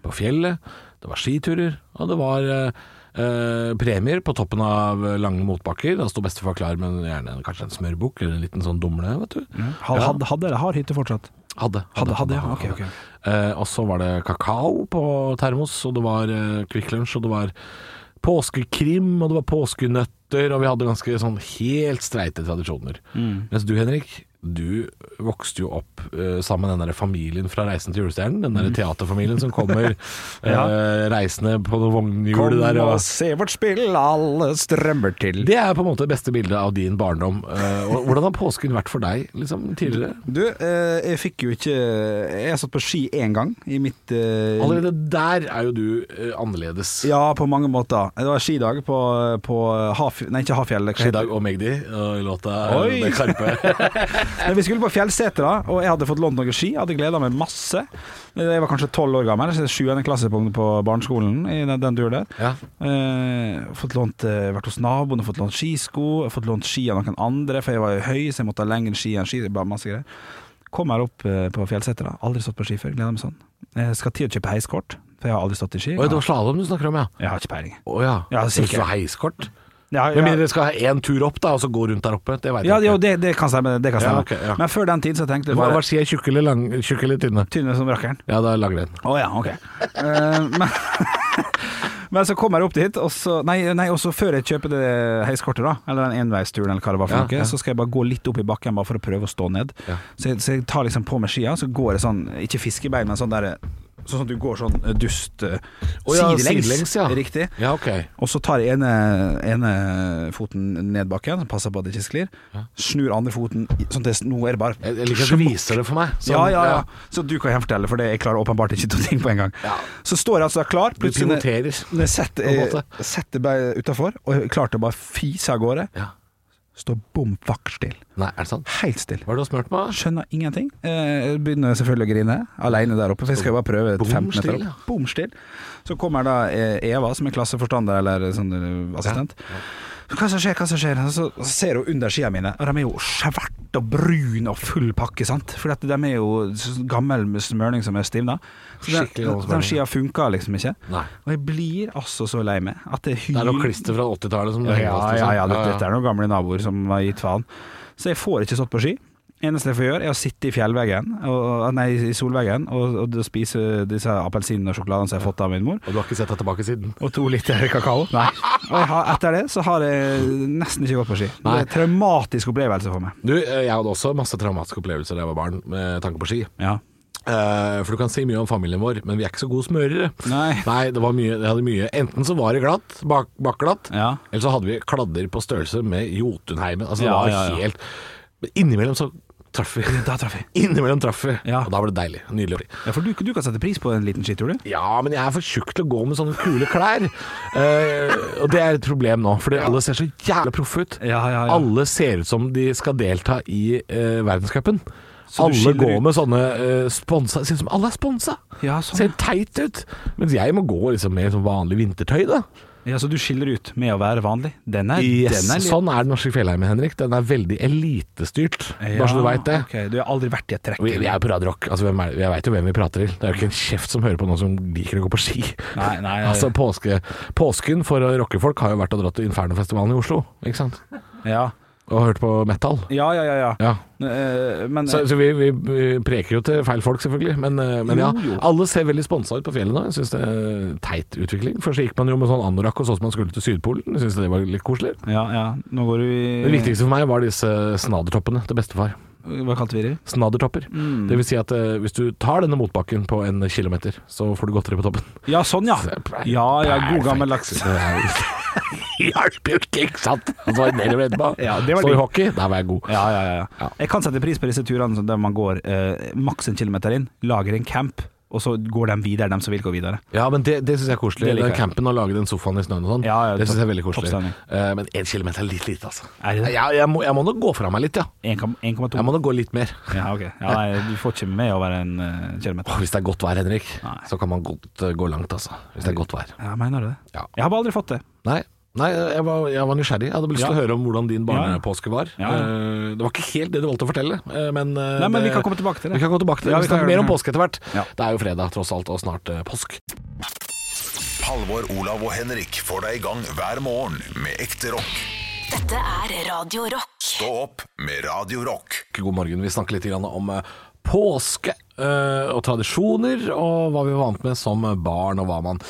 D: på fjellet. Det var skiturer, og det var eh, eh, premier på toppen av eh, lange motbakker. Da sto bestefar klar med en- gjerne en- kanskje en smørbukk eller en liten sånn dumle, vet du.
E: Had,
D: Ja.
E: hadde, hadde eller har hytte fortsatt?
D: Hadde.
E: Hadde, hadde, ja. Ok, ok.
D: Eh, og så var det kakao på termos, og det var eh, Kvikk Lunsj, og det var påskekrim,
E: Mm.
D: og det var påskenøtter, og vi hadde ganske sånn helt streite tradisjoner. Mens du, Henrik, du vokste jo opp eh, sammen med den der familien fra 'Reisen til julestjernen'. Den
E: Mm.
D: der teaterfamilien som kommer eh, reisende på noen vognhjul der. Og,
E: se vårt spill, alle strømmer til.
D: det er på en måte det beste bildet av din barndom. Eh, og hvordan har påsken vært for deg liksom, tidligere?
E: Du, eh, jeg fikk jo ikke eh, Jeg satt på ski én gang i mitt eh,
D: Allerede der er jo du eh, annerledes.
E: Ja, på mange måter. Det var skidag på, på Hafj- Nei, ikke Hafjell. hva heter det?
D: Skidag og Magdi og låta
E: Oi!
D: med Karpe.
E: Men vi skulle på Fjellsetra, og jeg hadde fått lånt noen ski. Hadde gleda meg masse. Jeg var kanskje tolv år gammel, så sjuende klasse på, på barneskolen i den, den turen der.
D: ja.
E: Eh, fått lånt, eh, vært hos naboene, fått lånt skisko, fått lånt ski av noen andre, for jeg var jo høy, så jeg måtte ha lengre ski enn ski. Det var masse greier. Kom her opp eh, på Fjellsetra, aldri stått på ski før, gleder meg sånn. Jeg skal til å kjøpe heiskort, for jeg har aldri stått i ski.
D: Oi, det var slalåm du snakker om, ja.
E: Jeg har ikke peiling.
D: Å ja.
E: Ja,
D: Det er ikke
E: sikkert.
D: noe heiskort?
E: Jeg har-
D: Med
E: jeg-
D: mindre dere skal ha én tur opp da, og så gå rundt der oppe. Det vet
E: ja,
D: jeg
E: jo,
D: ikke.
E: det, det kan stemme. Det kan
D: Ja,
E: stemme.
D: ok, ja.
E: Men før den tid så tenkte jeg
D: Hva,
E: bare
D: hva sier jeg, tjukke eller, lang, tjukke eller tynne?
E: tynne som rakkeren.
D: Ja, da lager den.
E: Å ja, ok. Eh, men, men så kom jeg opp dit, og så Nei, nei og så før jeg kjøper det heiskortet, da, eller den enveisturen, eller hva det var for
D: Ja,
E: noe,
D: ja.
E: så skal jeg bare gå litt opp i bakken bare for å prøve å stå ned.
D: Ja.
E: Så, jeg, så jeg tar liksom på meg skia, så går jeg sånn, ikke fiskebein, men sånn der Sånn at du går sånn eh, dust eh,
D: Å ja,
E: sidelengs.
D: sidelengs, ja.
E: Riktig.
D: Ja, ok.
E: Og så tar jeg ene, ene foten ned bakken, passer på at det ikke sklir. Snur andre foten, i- sånn at det, nå er det bare
D: Jeg, jeg liker at du viser det for meg. Sånn,
E: ja, ja, ja. Så du kan gjenfortelle, for det jeg klarer åpenbart ikke to ting på en gang. Så står jeg altså der klar,
D: Du
E: plutselig når
D: pivoterer.
E: når jeg setter,
D: på en måte.
E: jeg setter meg utafor, og jeg klarte å bare fise av gårde.
D: Ja.
E: Står bom vakk still.
D: Nei, er det sant?
E: Helt still.
D: Hva er det du har smurt med?
E: Skjønner ingenting. Eh, begynner selvfølgelig å grine, aleine der oppe, for jeg skal jo bare prøve et
D: Bom
E: 15 meter
D: still, ja.
E: opp. Bom still. Så kommer da eh, Eva, som er klasseforstander eller sånn eh, assistent. Hva som skjer, hva som skjer? Så så ser hun under skia mine, og de er jo svært og brune og full pakke, sant? For de er jo s- gammel smørning som er stivna. Så den,
D: Skikkelig gammel smørning.
E: den skia funka liksom ikke.
D: Nei.
E: Og jeg blir altså så lei meg at det
D: Det er noe
E: hyler
D: klister fra 80-tallet som du
E: ja,
D: henger
E: ja,
D: fast i,
E: ja,
D: sånn.
E: ja, dette er noen gamle naboer som har gitt faen. Så jeg får ikke stått på ski. Eneste jeg får gjøre, er å sitte i fjellveggen, og, nei, i solveggen, og, og spise disse appelsinene og sjokoladene som jeg har fått av min mor.
D: Og du har ikke sett deg tilbake siden?
E: Og to liter kakao. Nei. Og jeg har, etter det så har jeg nesten ikke gått på ski. Det er en traumatisk opplevelse for meg.
D: Du, eh, jeg hadde også masse traumatiske opplevelser da jeg var barn, med tanke på ski.
E: Ja.
D: Eh, for du kan si mye om familien vår, men vi er ikke så gode smørere.
E: Nei.
D: det var mye, det hadde mye Enten så var det glatt, bak, bakglatt,
E: Ja.
D: eller så hadde vi kladder på størrelse med Jotunheimen. Altså,
E: Ja,
D: det var
E: ja, ja.
D: helt Men innimellom så traff vi.
E: Da traff jeg.
D: Innimellom traff vi,
E: Ja.
D: og da var det deilig. Nydelig.
E: Ja, for du, du kan sette pris på en liten skitur, du.
D: Ja, men jeg er for tjukk til å gå med sånne kule klær. Eh, og det er et problem nå, fordi alle ser så jævla proffe ut.
E: Ja, ja, ja.
D: Alle ser ut som de skal delta i eh, verdenscupen.
E: du
D: Alle
E: skiller
D: går
E: ut-
D: med sånne eh, sponsa Ser ut som alle er sponsa!
E: Ja, sånn,
D: Ser teit ut. Mens jeg må gå liksom med sånn vanlig vintertøy, da.
E: Ja, Så du skiller ut med å være vanlig? Den er,
D: Yes,
E: den er litt-
D: sånn er den norske fjellheimen, Henrik. Den er veldig elitestyrt, bare så du
E: Ja,
D: veit det.
E: ok, Du har aldri vært i et trekk?
D: Vi, vi er jo på Radio Rock. Altså, hvem er, jeg veit jo hvem vi prater til. Det er jo ikke en kjeft som hører på noen som liker å gå på ski.
E: Nei, nei, nei.
D: Altså, påske, Påsken for rockefolk har jo vært og dratt til Infernofestivalen i Oslo, ikke sant?
E: Ja,
D: Og hørt på metal.
E: ja, ja. ja, ja.
D: Ja.
E: Eh, Men
D: Så, så vi, vi vi preker jo til feil folk, selvfølgelig. Men, eh, men ja, alle ser veldig sponsa ut på fjellet nå. Jeg syns det er teit utvikling. Først så gikk man jo med sånn anorakk og så som man skulle til Sydpolen. Jeg syns det var litt koselig.
E: Ja, ja. Nå går du i
D: Det viktigste for meg var disse snaddertoppene til bestefar.
E: Hva kalte vi det?
D: Snaddertopper.
E: Mm.
D: Det vil si at eh, hvis du tar denne motbakken på en kilometer, så får du godteri på toppen.
E: Ja, sånn ja. Ja, ja, god gammel laks.
D: Hjalp jo ikke, ikke sant? Og så var jeg nedover etterpå.
E: Ja, det var
D: så i
E: digg.
D: hockey, der var jeg god.
E: Ja, ja, ja, ja. Jeg kan sette pris på disse turene som der man går eh, maks en kilometer inn, lager en camp, og så går de videre, de som vil gå videre.
D: Ja, men det, det syns jeg er koselig.
E: Det liker
D: Den
E: jeg.
D: campen og lage den sofaen i snøen og sånn,
E: Ja, ja,
D: det syns jeg er veldig
E: topp-
D: koselig.
E: toppstemning.
D: Eh, men én kilometer er litt lite, altså.
E: Er det det?
D: Ja, jeg, må, jeg må nok gå fra meg litt, ja.
E: 1,2.
D: Jeg må nok gå litt mer.
E: Ja, ok. Ja, nei, du får ikke med over en eh,
D: Åh,
E: kilometer.
D: Hvis det er godt vær, Henrik,
E: Nei.
D: så kan man godt eh, gå langt, altså. Hvis det er godt vær.
E: Ja, mener du det?
D: Ja.
E: Jeg har bare aldri fått det.
D: Nei, nei jeg, var, jeg var nysgjerrig. Jeg hadde lyst
E: Ja.
D: til å høre om hvordan din barnepåske var.
E: Ja, ja.
D: Eh, Det var ikke helt det du valgte å fortelle, eh, men eh,
E: Nei, men
D: det,
E: vi kan komme tilbake til det.
D: Vi kan gå tilbake til det.
E: Ja,
D: vi
E: vi kan
D: snakker
E: gjøre
D: mer
E: det.
D: om påske etter hvert.
E: Ja.
D: Det er jo fredag tross alt, og snart eh, påsk.
A: Halvor, Olav og Henrik får deg i gang hver morgen med ekte rock.
B: Dette er Radio Rock.
A: Stå opp med Radio Rock.
D: God morgen. Vi snakker litt grann om eh, påske eh, og tradisjoner, og hva vi var vant med som barn, og hva man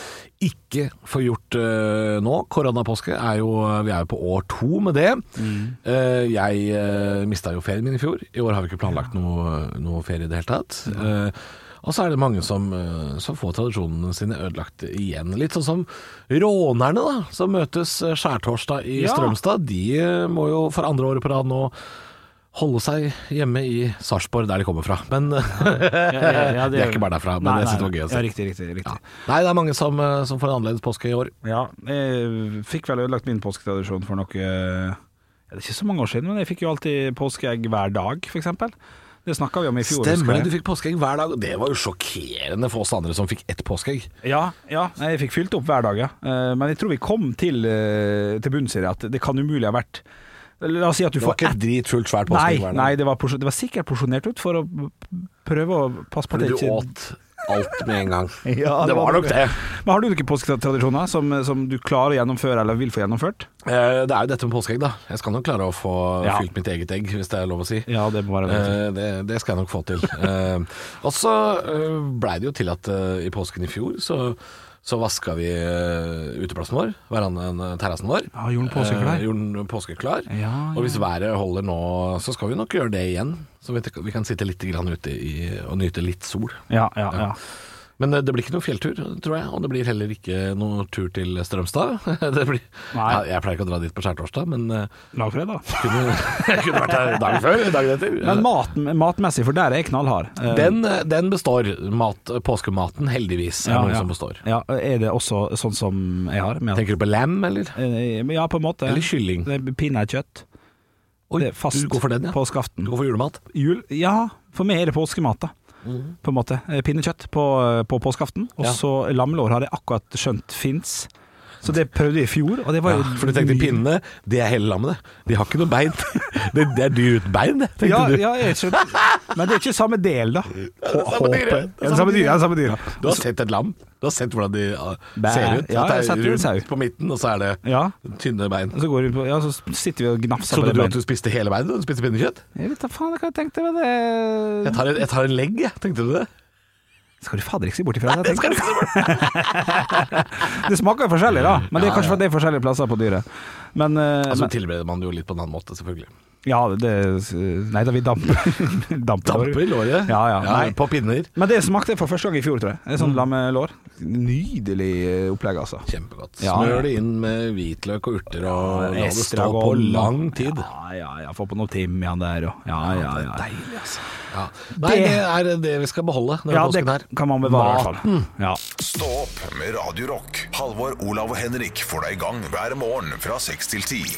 D: ikke får gjort eh, nå. Koronapåske er jo Vi er jo på år to med det. Eh, jeg uh, mista jo ferien min i fjor. I år har vi ikke planlagt noe, noe ferie i det hele tatt. Eh, og så er det mange som, eh, som får tradisjonene sine ødelagt igjen. Litt sånn som rånerne, da, som møtes eh, skjærtorsdag i
E: Ja.
D: Strømstad. De eh, må jo for andre året på rad nå holde seg hjemme i Sarpsborg, der de kommer fra. Men eh,
E: ja,
D: de er ikke bare derfra, men jeg synes det var gøy å se.
E: Ja, riktig, riktig, riktig.
D: Nei, det er mange som, eh, som får en annerledes påske i år.
E: Ja, jeg fikk vel ødelagt min påsketradisjon for noe ja, Det er ikke så mange år siden, men jeg fikk jo alltid påskeegg hver dag, f.eks. Det snakka vi om i fjor.
D: Stemmer
E: husker
D: det,
E: jeg.
D: du fikk påskeegg hver dag. og Det var jo sjokkerende for oss andre som fikk ett påskeegg.
E: Ja, ja, nei, jeg fikk fylt opp hver dag, ja. Eh, Men jeg tror vi kom til, eh, til bunns i det, at det kan umulig ha vært La oss si at du
D: Det var
E: får
D: ikke
E: ett
D: et dritfullt svært
E: Nei,
D: påskeegg hver dag.
E: nei det, var porsjon- det var sikkert porsjonert ut for å prøve å passe på at
D: Fordi
E: det
D: du
E: ikke
D: åt alt med en gang.
E: Ja,
D: det var nok det.
E: Men har du noen påsketradisjoner som, som du klarer å gjennomføre, eller vil få gjennomført?
D: Eh, Det er jo dette med påskeegg, da. Jeg skal nok klare å få
E: Ja.
D: fylt mitt eget egg, hvis det er lov å si.
E: Ja, det må være det.
D: Eh, det, det skal jeg nok få til. Eh, og så eh, blei det jo til at eh, i påsken i fjor så, så vaska vi eh, uteplassen vår, verandaen, eh, terrassen vår.
E: Ja, gjorde den påskeklar?
D: Eh, gjorde den påskeklar.
E: Ja, ja.
D: Og hvis været holder nå, så skal vi nok gjøre det igjen. Så vi, vi kan sitte litt grann ute i, og nyte litt sol.
E: Ja, ja, ja.
D: Men eh, det blir ikke noen fjelltur, tror jeg. Og det blir heller ikke noen tur til Strømstad. det blir, ja,
E: Nei.
D: jeg pleier ikke å dra dit på skjærtorsdag, men eh,
E: Lagfredag.
D: kunne, kunne vært der dagen før. Dagen etter.
E: Men maten, matmessig, for der er jeg knallhard. Eh,
D: Eh, Den, den består, mat, påskematen, heldigvis. Er
E: ja,
D: noe
E: ja.
D: som består.
E: Ja, er det også sånn som jeg har? Med at,
D: Tenker du på lam, eller?
E: Eh, ja, på en måte.
D: Eller kylling?
E: Det er Pinnekjøtt.
D: Oi,
E: Det er fast
D: du går for den, ja.
E: påskeaften.
D: Du går for julemat?
E: Jul, ja, for meg er det påskemat, da. På en måte. Eh, Pinnekjøtt på, på påskeaften. Og
D: Mhm. Ja.
E: så lammelår har jeg akkurat skjønt fins. Så det prøvde jeg i fjor, og det var
D: Ja,
E: jo
D: for du tenkte pinnene, det er hele lammet, det. De har ikke noe bein. Det, det er dyr uten bein, det, tenkte
E: Ja,
D: du.
E: ja, jeg skjønte. Men det er ikke samme del, da.
D: samme dyret.
E: Håper. Ja, Det er samme dyr. Ja, det er samme dyr.
D: Du har sett et lam. Du har sett hvordan de ah,
E: Bæ.
D: ser ut. At
E: Ja,
D: det er
E: jeg har sett en
D: rundt
E: sau.
D: på midten, og så er det
E: Ja.
D: tynne bein.
E: Og så, går vi på, ja, så sitter vi og gnafser
D: Trodde
E: på
D: du
E: det.
D: at du spiste hele beinet? Du spiste pinnekjøtt?
E: Jeg vet da faen hva jeg tenkte, men det
D: Jeg tar en, jeg tar en legg, jeg. Tenkte du det?
E: Skal du fader ikke si bort ifra det? jeg tenker. det smaker jo forskjellig, da. Men det er kanskje fordi det er forskjellige plasser på dyret. Men, eh,
D: Altså
E: men
D: tilbereder man det jo litt på en annen måte, selvfølgelig.
E: Ja, det Nei da, vi damper. damper.
D: Damper i låret.
E: Ja, ja. Nei.
D: På pinner. Mm.
E: Men det smakte jeg for første gang i fjor, tror jeg. En sånn lammelår. Nydelig eh, opplegg, altså.
D: Kjempegodt.
E: Ja.
D: Smør det inn med hvitløk og urter, og la det stå
E: Estragon.
D: på lang tid.
E: Ja, ja, ja. Få på noe timian der og Ja, ja, ja. Deilig, altså.
D: Ja. Nei, det er det vi skal beholde denne
E: Ja, det
D: påsken her.
E: kan man bevare, i hvert fall. Ja.
A: Stå opp med Radio Rock. Halvor, Olav og Henrik får deg i gang hver morgen fra 6 til 10.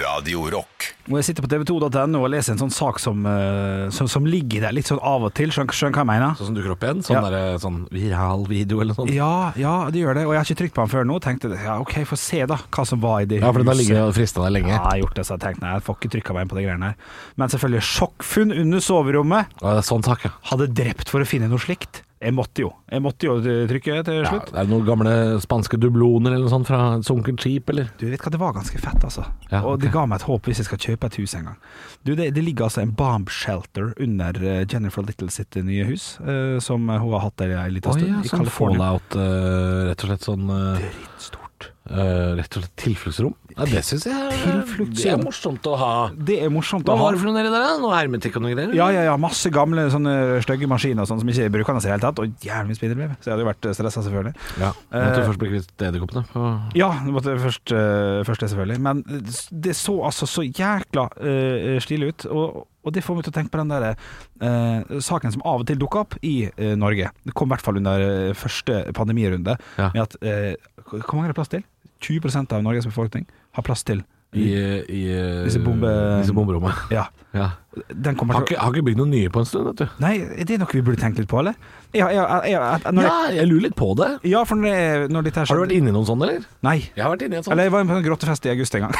A: Radio Rock.
E: Og jeg sitter på tv2.no og leser en sånn sak som, eh, som, som ligger der litt sånn av og til. Skjønner skjønner hva jeg mener?
D: Sånn som dukker opp igjen? Sånn,
E: Ja.
D: derre- sånn viral video eller noe sånt?
E: Ja, ja, det gjør det. Og jeg har ikke trykt på den før nå. Tenkte ja, OK, få se da hva som var i det
D: Ja, for den har
E: huset.
D: ligget og frista deg
E: Ja,
D: lenge.
E: jeg har gjort det, så jeg tenkte nei, jeg får ikke trykka meg inn på de greiene her. Men selvfølgelig, sjokkfunn under soverommet.
D: Ja, det er sånn sak, ja.
E: Hadde drept for å finne noe slikt. Jeg måtte jo. Jeg måtte jo trykke til
D: ja.
E: slutt.
D: Det er noen gamle spanske dubloner eller noe sånt fra et sunket skip, eller?
E: Du vet hva, det var ganske fett, altså.
D: Ja,
E: Og det
D: ok.
E: ga meg et håp hvis jeg skal kjøpe et hus en gang. Du, det, det ligger altså en bomb shelter under eh, Jennifer Little sitt nye hus, eh, som hun har hatt der en liten
D: Å
E: stund,
D: ja,
E: i
D: sånn
E: California.
D: fallout, eh, rett og slett sånn eh,
E: Stort.
D: eh, Rett og slett tilfluktsrom. Ja, det syns jeg er,
E: Tilfluktsrom.
D: det er morsomt å ha.
E: Det er morsomt
D: Hva
E: å ha.
D: har du for noe nedi der, da? Noe hermetikk og noe greier?
E: Ja, ja, ja. Masse gamle sånne stygge maskiner og sånn som ikke brukes i det hele tatt. Og jævlig mye spindelvev. Så jeg hadde jo vært stressa, selvfølgelig.
D: Ja, måtte
E: Eh,
D: først bli kvitt edderkoppene. og-
E: Ja, det måtte først, eh, først det, selvfølgelig. Men det så altså så jækla eh, stilig ut. Og, og det får meg til å tenke på den der eh, saken som av og til dukker opp i eh, Norge. Det kom i hvert fall under eh, første pandemirunde.
D: Ja.
E: Med at eh, Hvor mange er det plass til? 20 av Norges befolkning har plass til
D: I, i eh,
E: Disse bombe-
D: disse bomberommene.
E: Ja.
D: Ja.
E: Den kommer
D: Har,
E: til å
D: ikke, har ikke bygd noen nye på en stund, vet du.
E: Nei, er det noe vi burde tenke litt på, eller? Ja, ja, ja, ja, når
D: Ja, jeg lurer litt på det.
E: Jeg, ja for når, det, når dette her
D: Har du vært
E: skjedde-
D: inni noen sånne, eller?
E: Nei.
D: Jeg har vært inni en sånn.
E: Eller jeg var på en grottefest i august en gang.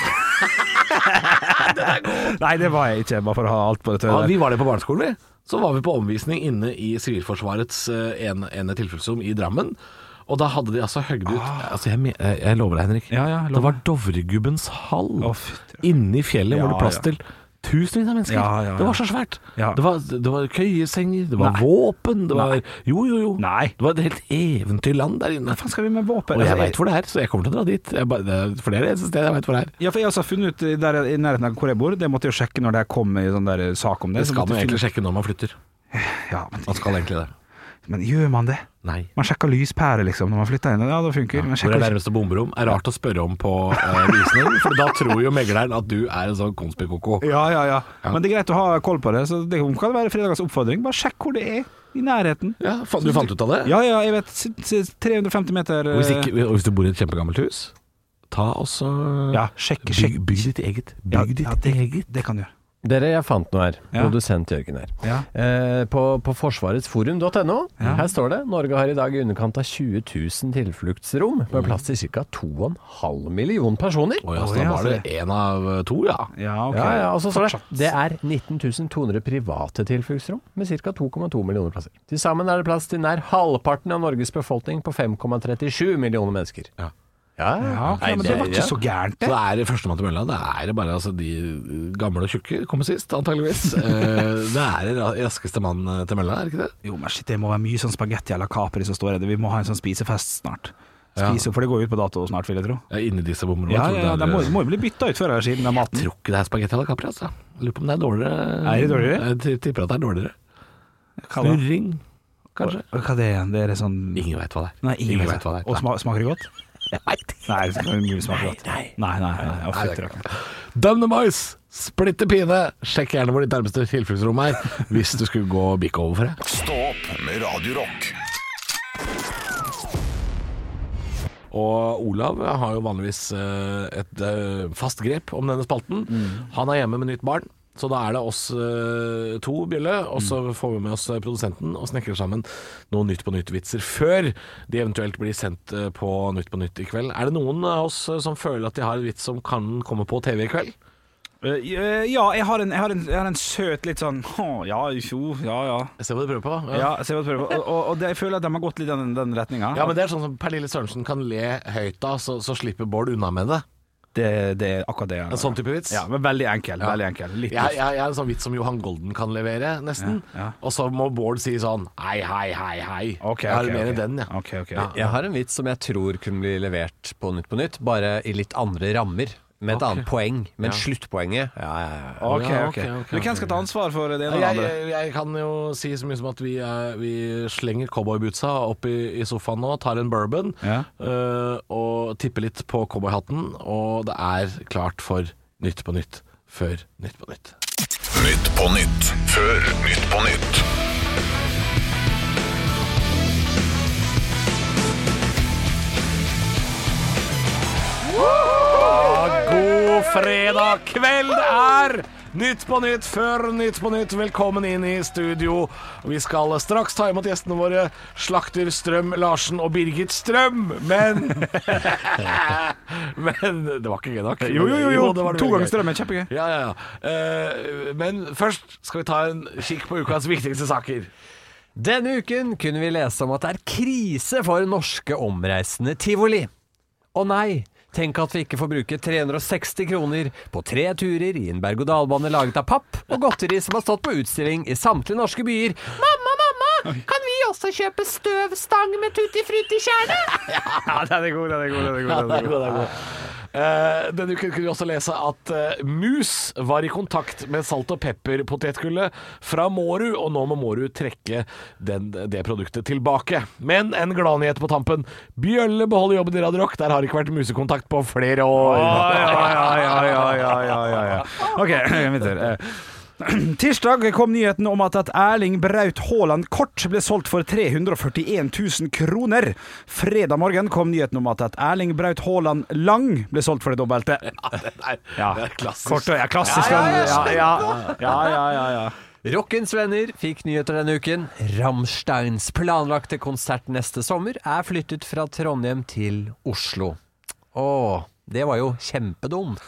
E: Nei, det var jeg ikke, bare for å ha alt på det
D: Ja,
E: tørre.
D: vi var det på barneskolen, vi. Så var vi på omvisning inne i Sivilforsvarets eh, en, ene tilfluktsrom i Drammen. Og da hadde de altså høgd ut altså jeg, me- jeg jeg lover deg, Henrik.
E: Ah. Ja, ja, lov
D: det var Dovregubbens hall
E: Å, fy,
D: inni fjellet
E: Ja,
D: hvor det plass
E: ja.
D: til
I: Tusenvis av mennesker.
E: Ja, ja, ja.
I: Det var så svært.
E: Ja.
I: Det, var, det var køyesenger, det var
E: Nei.
I: våpen, det var
E: Nei.
I: Jo, jo, jo.
E: Nei.
I: Det var et helt eventyrland der inne.
E: Hva faen skal vi med
I: Og
E: våpen?
I: jeg
E: Altså,
I: veit hvor det er, så jeg kommer til å dra dit. Jeg bare, det er, for det er det eneste stedet jeg veit hvor det er.
E: Ja, for jeg har også funnet ut der i nærheten av hvor jeg bor. Det måtte jeg jo sjekke når det kom i sånn der sak om
I: Det
E: det. Så
I: skal man
E: måtte jeg
I: egentlig sjekke når man flytter.
E: finne- Ja, men,
I: Man skal egentlig det.
E: men gjør man det?
I: Nei.
E: Man sjekker lyspære, liksom, når man flytter inn. Ja, det funker. Men
D: Hvor er
E: sjekker ikke-
D: nærmeste bomberom? Er rart å spørre om på eh, visning, for da tror jo megleren at du er en sånn konspikoko.
E: ja, ja, ja, Men det er greit å ha koll på det, så det kan være fredagens oppfordring. Bare sjekk hvor det er, i nærheten.
I: Ja, fa- du fant ut av det?
E: Ja, ja, jeg vet. s- s- 350 meter
I: Og hvis,
E: eh,
I: ikke, og hvis du bor i et kjempegammelt hus, ta også
E: Ja, sjekk,
I: bygg,
E: sjekk.
I: bygg ditt eget. Bygg
E: Ja,
I: ditt
E: ja, det,
I: eget.
E: det kan du gjøre.
H: Dere, jeg fant noe her.
E: Ja.
H: Produsent Jørgen her.
E: Ja.
H: Eh, på, på forsvaretsforum.no. Her står det Norge har i dag i underkant av 20 000 tilfluktsrom, med plass til ca. 2,5 million personer.
D: Å ja, så
E: Å,
D: da
E: ja,
D: var
E: så
D: det én av to, ja.
E: Ja, ok.
H: Ja, ja, og så står det det er 19.200 private tilfluktsrom med ca. 2,2 millioner plasser. Til sammen er det plass til nær halvparten av Norges befolkning på 5,37 millioner mennesker.
D: Ja.
H: Ja,
E: Ja, ok,
H: Nei,
E: men det var ikke
H: ja.
E: så gærent,
D: Så
E: det.
D: det er førstemann til mølla. Det er bare altså, de gamle og tjukke kommer sist, antageligvis. Eh, det er ra- raskeste mann eh, til mølla, er det ikke det?
E: Jo, men shit, det må være mye sånn spagetti eller capri som står i det. Vi må ha en sånn spisefest snart. Spise, For det går jo ut på dato snart, vil jeg tro.
D: Ja, Inni disse bomberommene.
E: Ja,
D: tror
E: ja, ja,
D: det
E: den
D: er-
E: må, må jo bli bytta ut før eller siden, den maten.
D: Jeg tror ikke det er spagetti alla capri, altså. Jeg Lurer på om det er dårligere.
E: Er det dårligere?
D: Jeg t- tipper at det er dårligere.
E: Hva da?
D: Snurring, kanskje.
E: Hva det er igjen? Det er sånn
D: Ingen veit hva det er.
E: Nei, ingen
D: vet hva det er.
E: Og sma smaker det godt? Nei, det kan umulig smake godt. Nei, nei. nei, nei, Å,
D: Nei, det
E: fytti
D: er
E: rakkeren.
D: Døm dem, boys! Splitter pine! Sjekk gjerne hvor ditt nærmeste tilfluktsrom er, hvis du skulle gå bikk over for det.
A: Stå opp med Radio Rock.
D: Og Olav har jo vanligvis eh, et eh, fast grep om denne spalten. Han er hjemme med nytt barn, så da er det oss eh, to, Bjølle, og så får vi med oss eh, produsenten og snekrer sammen noen Nytt på nytt-vitser før de eventuelt blir sendt eh, på Nytt på nytt i kveld. Er det noen av oss eh, som føler at de har en vits som kan komme på TV i kveld?
E: Eh, Ja, jeg har, en, jeg, har en, jeg har en søt litt sånn Å, ja, jo, ja, ja.
D: Jeg ser hva du prøver på.
E: Ja, så jeg, må prøve. Og, og, og det, jeg føler at de har gått litt i den, den retninga.
D: Ja, men det er sånn som Pernille Sørensen kan le høyt av, så, så slipper Bård unna med det.
E: det, det er akkurat det. jeg-
D: En sånn type vits.
E: Ja, men veldig enkel. Veldig enkel. Litt
D: Jeg, jeg, jeg er en sånn vits som Johan Golden kan levere, nesten.
E: Ja, ja.
D: Og så må Bård si sånn hei, hei, hei, hei.
E: Ok,
D: jeg har
E: ok,
D: mer
E: ok.
D: enn den, ja.
E: Ok, ok.
D: Ja.
H: Jeg har en vits som jeg tror kunne bli levert på Nytt på Nytt, bare i litt andre rammer. Med et annet poeng. Men sluttpoenget ja, ja, ja.
E: Ok,
D: Ja,
E: ok.
D: ok, ok,
E: Du, hvem skal ta ansvar for det ene og det
D: Jeg,
E: andre?
D: jeg, jeg kan jo si så mye som at vi, eh, vi slenger cowboybootsa opp i, i sofaen nå, tar en bourbon
E: Ja.
D: eh, og tipper litt på cowboyhatten, og det er klart for Nytt på nytt før Nytt på nytt.
A: Nytt på nytt før Nytt på nytt.
D: God fredag kveld det er Nytt på nytt før Nytt på nytt. Velkommen inn i studio. Vi skal straks ta imot gjestene våre, slakter Strøm Larsen og Birgit Strøm. Men Men det var ikke gøy nok.
E: Jo, jo, jo. jo.
D: det var det
E: to
D: veldig
E: ganger
D: gøy.
E: strømmen. Kjempegøy.
D: Ja, ja, ja. Eh, men først skal vi ta en kikk på ukas viktigste saker.
H: Denne uken kunne vi lese om at det er krise for norske omreisende tivoli. Å nei! Tenk at vi ikke får bruke 360 kroner på tre turer i en berg-og-dal-bane laget av papp og godteri som har stått på utstilling i samtlige norske byer. Mamma, mamma! Kan vi også kjøpe støvstang med tutti frutti-kjerne?
E: Ja, den er god, den er god. Den er god, den er god.
D: Eh, denne uken kunne vi også lese at eh, mus var i kontakt med salt og pepper-potetgullet fra Mårud, og nå må Mårud trekke den, det produktet tilbake. Men en gladnyhet på tampen. Bjølle beholder jobben i Radio Rock. Der har det ikke vært musekontakt på flere år.
E: Ja, ja, ja, ja, ja, ja, ja, ja. OK, min tur. Eh, Tirsdag kom nyheten om at, at Erling Braut Haaland kort ble solgt for 341 000 kroner. Fredag morgen kom nyheten om at, at Erling Braut Haaland lang ble solgt for det dobbelte.
D: det, er,
E: Ja.
D: det er klassisk.
E: Kort og ja, klassisk. Ja, ja, ja. ja, ja, ja, ja.
H: Rockens venner fikk nyheter denne uken. Rammsteins planlagte konsert neste sommer er flyttet fra Trondheim til Oslo. Å, det var jo kjempedumt.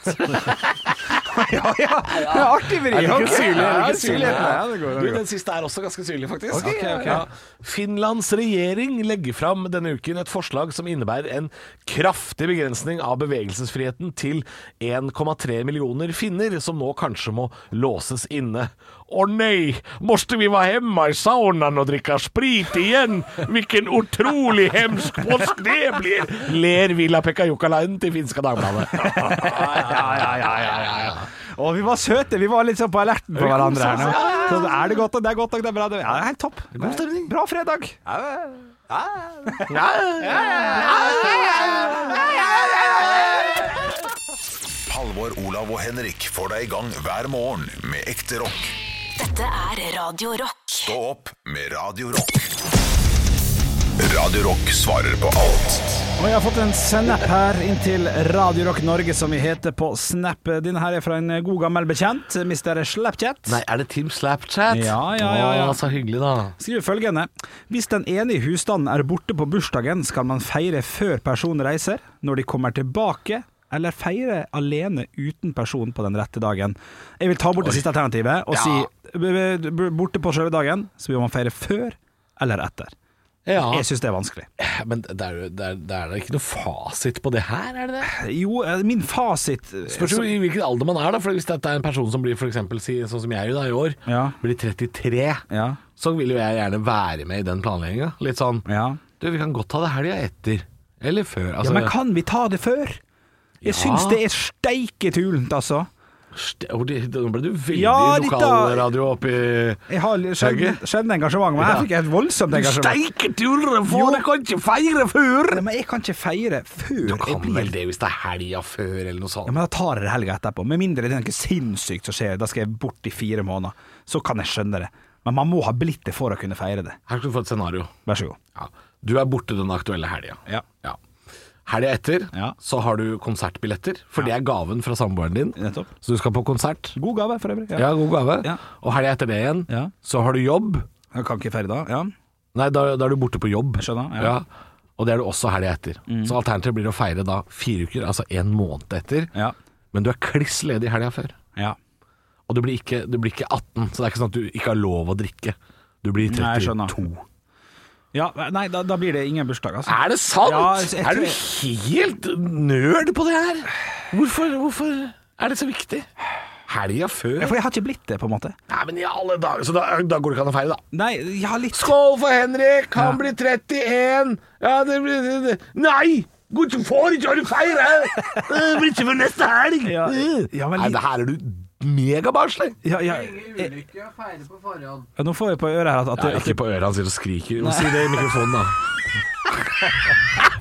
E: ja, ja. Det er artig vri.
D: Er det ikke
E: ok.
D: syrlig? Er
E: Ja,
D: det ikke
E: syrlig?
D: syrlig?
E: Ja, det går,
D: Du,
E: det går.
D: den siste er også ganske syrlig, faktisk.
E: Ok,
D: Ja,
E: ok.
D: ja. Finlands regjering legger fram denne uken et forslag som innebærer en kraftig begrensning av bevegelsesfriheten til 1,3 millioner finner, som nå kanskje må låses inne. Å nei, måste vi være hjemme i saunaen og drikke sprit igjen? Hvilken utrolig hemsk påsk det blir! Ler Villa-Pekka Jukkalainen til finska Dagbladet.
E: ja, ja, ja, ja, ja. Å, vi var søte. Vi var litt sånn på alerten på hverandre her nå. Så er det godt nok, det er godt nok, det er bra. Det ja, det er helt topp. God stemning. Bra fredag.
A: Halvor, Olav og Henrik får deg i gang hver morgen med ekte rock.
B: Dette er Radio Rock.
A: Stå opp med Radio Rock. Radio Rock svarer på alt.
E: Og jeg har fått en snap her inn til Radio Rock Norge, som vi heter på Snap. Din her er fra en god gammel bekjent, Mr. Slapchat.
D: Nei, er det Team Slapchat?
E: Ja, ja, ja, ja.
D: Å, så hyggelig, da.
E: Skriver følgende Hvis den ene i husstanden er borte på bursdagen, skal man feire før personen reiser, når de kommer tilbake, eller feire alene uten personen på den rette dagen. Jeg vil ta bort det siste alternativet og si b- b- b- borte på selve dagen, så vil man feire før eller etter.
D: Ja.
E: Jeg syns det er vanskelig.
D: Men det er, jo- det, er, det er da ikke noe fasit på det her, er det det?
E: Jo, eh, min fasit
D: Spørs jo i hvilken alder man er, da. For hvis dette er en person som blir for eksempel, si, sånn som jeg da i år,
E: Ja.
D: blir 33,
E: Ja.
D: så vil jo jeg gjerne være med i den planlegginga. Litt sånn
E: ja.
D: Du, vi kan godt ta det helga etter. Eller før.
E: Ja,
D: Altså,
E: men kan vi ta det før? Jeg syns det er steike tulent, altså.
D: St- Å, det- Nå ble du veldig
E: Ja, litt da.
D: lokalradio oppi
E: Jeg har litt sjelden sjelden engasjement, men her fikk jeg et voldsomt engasjement.
D: tuller, for jeg kan ikke feire før!
E: Nei, Men jeg kan ikke feire før
D: Du
E: jeg
D: kan
E: blir
D: vel det hvis det er helga før, eller noe sånt.
E: Ja, men da tar jeg det helga etterpå. Med mindre det er noe sinnssykt som skjer, da skal jeg bort i fire måneder. Så kan jeg skjønne det. Men man må ha blitt det for å kunne feire det.
D: Her skal du få et scenario.
E: Vær så god.
D: Ja. Du er borte den aktuelle helga.
E: Ja.
D: Helga etter
E: Ja.
D: så har du konsertbilletter, for det er gaven fra samboeren din.
E: Nettopp.
D: Så du skal på konsert.
E: God gave, for øvrig.
D: Ja, god gave.
E: Ja.
D: Og helga etter det igjen,
E: Ja.
D: så har du jobb.
E: Jeg kan ikke feire da. Ja.
D: Nei, da, da er du borte på jobb.
E: Skjønner, ja. Mm.
D: Og det er du også helga etter. Så alternativet blir å feire da fire uker, altså en måned etter.
E: Ja.
D: Men du er kliss ledig helga før.
E: ja.
D: Og du blir, ikke, du blir ikke 18, så det er ikke sånn at du ikke har lov å drikke. Du blir
E: Nei, jeg
D: 32.
E: skjønner. ja nei, da, da blir det ingen bursdag, altså.
D: Er det sant?
E: Ja, jeg
D: er du
E: tror-
D: helt nerd på det her? Hvorfor, hvorfor er det så viktig? Helga
E: Ja,
D: før?
E: For jeg har ikke blitt det, på en måte.
D: Nei, men i alle dager Så da, da går det ikke an å feire, da.
E: Nei, jeg har litt
D: Skål for Henrik! Han blir 31! Ja, det blir det, det. Nei! Gud, du får ikke ha det feire! Det blir ikke før neste helg!
E: Ja, ja, men
D: Nei,
E: litt-
D: det her er du megabarnslig!
E: ja, ja, jeg, ja, Nå får jeg på øret her at, at,
D: Ja,
E: at
D: ikke på øret han sitter og skriker. Må si det i mikrofonen, da.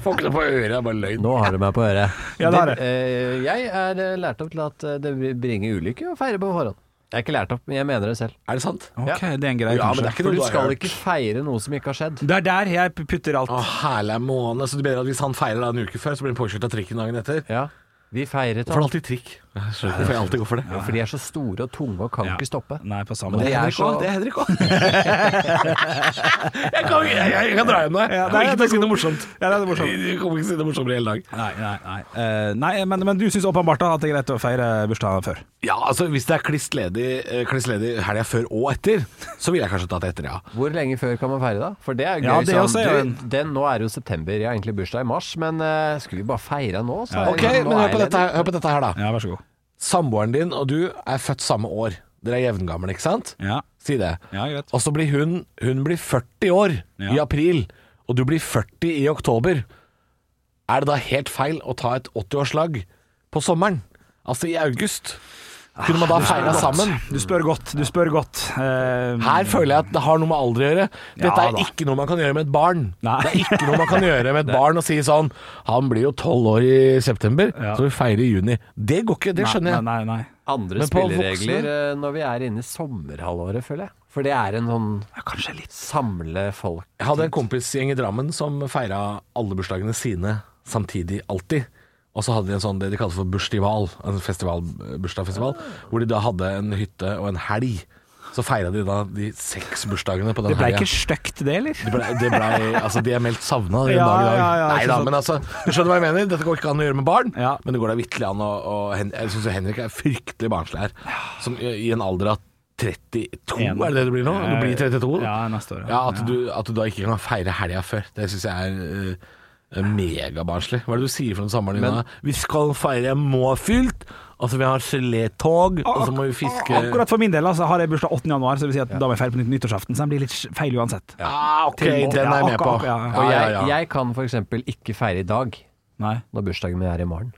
D: Får ikke det på øret, det er bare løgn.
H: Nå har du meg på øret.
E: Ja, det har jeg.
H: eh, jeg er eh, lært opp til at eh, det bringer ulykke å feire på forhånd. Jeg er ikke lært opp, men jeg mener det selv.
D: Er det sant?
E: Ok, det er en greie,
D: Ja, men
E: kanskje.
D: det er ikke
H: For
D: noe
H: du
D: du har
H: skal
D: hørt.
H: ikke feire noe som ikke har skjedd.
E: Det er der jeg putter alt.
D: Å, herlig måned. Så du mener at hvis han feirer da en uke før, så blir han påkjørt av trikken dagen etter?
H: Ja, vi
D: Hvorfor er
H: feiret
D: det
H: alt.
D: alltid trikk? Hvorfor jeg alltid går for det?
H: For de er så store og tunge og kan
E: Ja.
H: ikke stoppe.
E: Nei, på samme
H: Men det
E: måte.
H: er
D: Henrik
H: så-
D: også, det er Henrik òg. jeg, kan ikke- jeg, jeg kan dra hjem nå. Jeg kommer ikke til å si noe morsomt.
E: Ja, det er sånn. morsomt.
D: Jeg kommer ikke til å si noe morsommere i hele dag.
E: Nei, nei, nei. Eh, nei men, men du syns åpenbart da at det er greit å feire bursdagen før?
D: Ja, altså Hvis det er kliss ledig, eh, kliss ledig helga før og etter, så ville jeg kanskje tatt det etter, ja.
H: Hvor lenge før kan man feire da? For det er jo gøy.
E: Ja, det
H: sånn,
E: også er jo
H: du, den, nå er det jo september, jeg har egentlig bursdag i mars, men eh, skulle vi bare feire nå? Så,
D: Ok, men hør på, dette, her- hør på dette her, da.
E: Ja, vær så god.
D: Samboeren din og du er født samme år. Dere er jevngamle, ikke sant?
E: Ja,
D: Si det.
E: ja greit.
D: Og så blir hun Hun blir 40 år i
E: Ja.
D: april, og du blir 40 i oktober. Er det da helt feil å ta et 80-årslag på sommeren? Altså i august? Kunne
E: Ah,
D: man da feira sammen?
E: Du spør godt, du spør godt. Eh,
D: Her føler jeg at det har noe med alder å gjøre. Dette
E: Ja,
D: er
E: da.
D: ikke noe man kan gjøre med et barn.
E: Nei.
D: Det er ikke noe man kan gjøre med et barn og si sånn Han blir jo tolv år i september,
E: Ja.
D: så vi feirer i juni. Det går ikke, det skjønner jeg.
E: Nei, nei, nei.
H: Andre
D: Men på
H: spilleregler
D: voksne-
H: eh, når vi er inne i sommerhalvåret, føler jeg. For det er en sånn
E: Kanskje litt
H: samle folk.
D: Jeg hadde en kompisgjeng i Drammen som feira alle bursdagene sine samtidig, alltid. Og så hadde de en sånn, det de kalte for bursdival, en festival, bursdagsfestival, hvor de da hadde en hytte og en helg Så feira de da de seks bursdagene på den
E: Det ble
D: helgen.
E: ikke stygt, det, eller?
D: Det ble, det ble, altså, de er meldt savna den
E: Ja,
D: dag i dag.
E: ja, ja,
D: Nei da,
E: ikke sant.
D: men altså Du skjønner hva jeg mener? Dette går ikke an å gjøre med barn,
E: Ja.
D: men det går da vitterlig an å å- Hen- Jeg syns Henrik er fryktelig barnslig her. Som i i en alder av 32,
E: En.
D: er det det du blir nå? Du blir 32? da.
E: Eh, Ja, neste år, ja.
D: Ja, at, du, at du da ikke kan feire helga før. Det syns jeg er eh, megabarnslig. Hva er det du sier for noe samboeren din? da? Vi skal feire måfylt, og så vi har gelétog, og så må vi fiske
E: Akkurat for min del altså, har jeg bursdag 8. januar, så det vil si at da må jeg feire på nytt nyttårsaften. Så den blir litt feil uansett.
D: Ja, ok,
E: Til må-
D: den er jeg med på.
E: Ah, akkurat- ja, ja.
D: Ja,
H: Og
D: ja,
H: jeg,
D: ja.
H: jeg kan f.eks. ikke feire i dag,
E: Nei.
H: når bursdagen min er i morgen.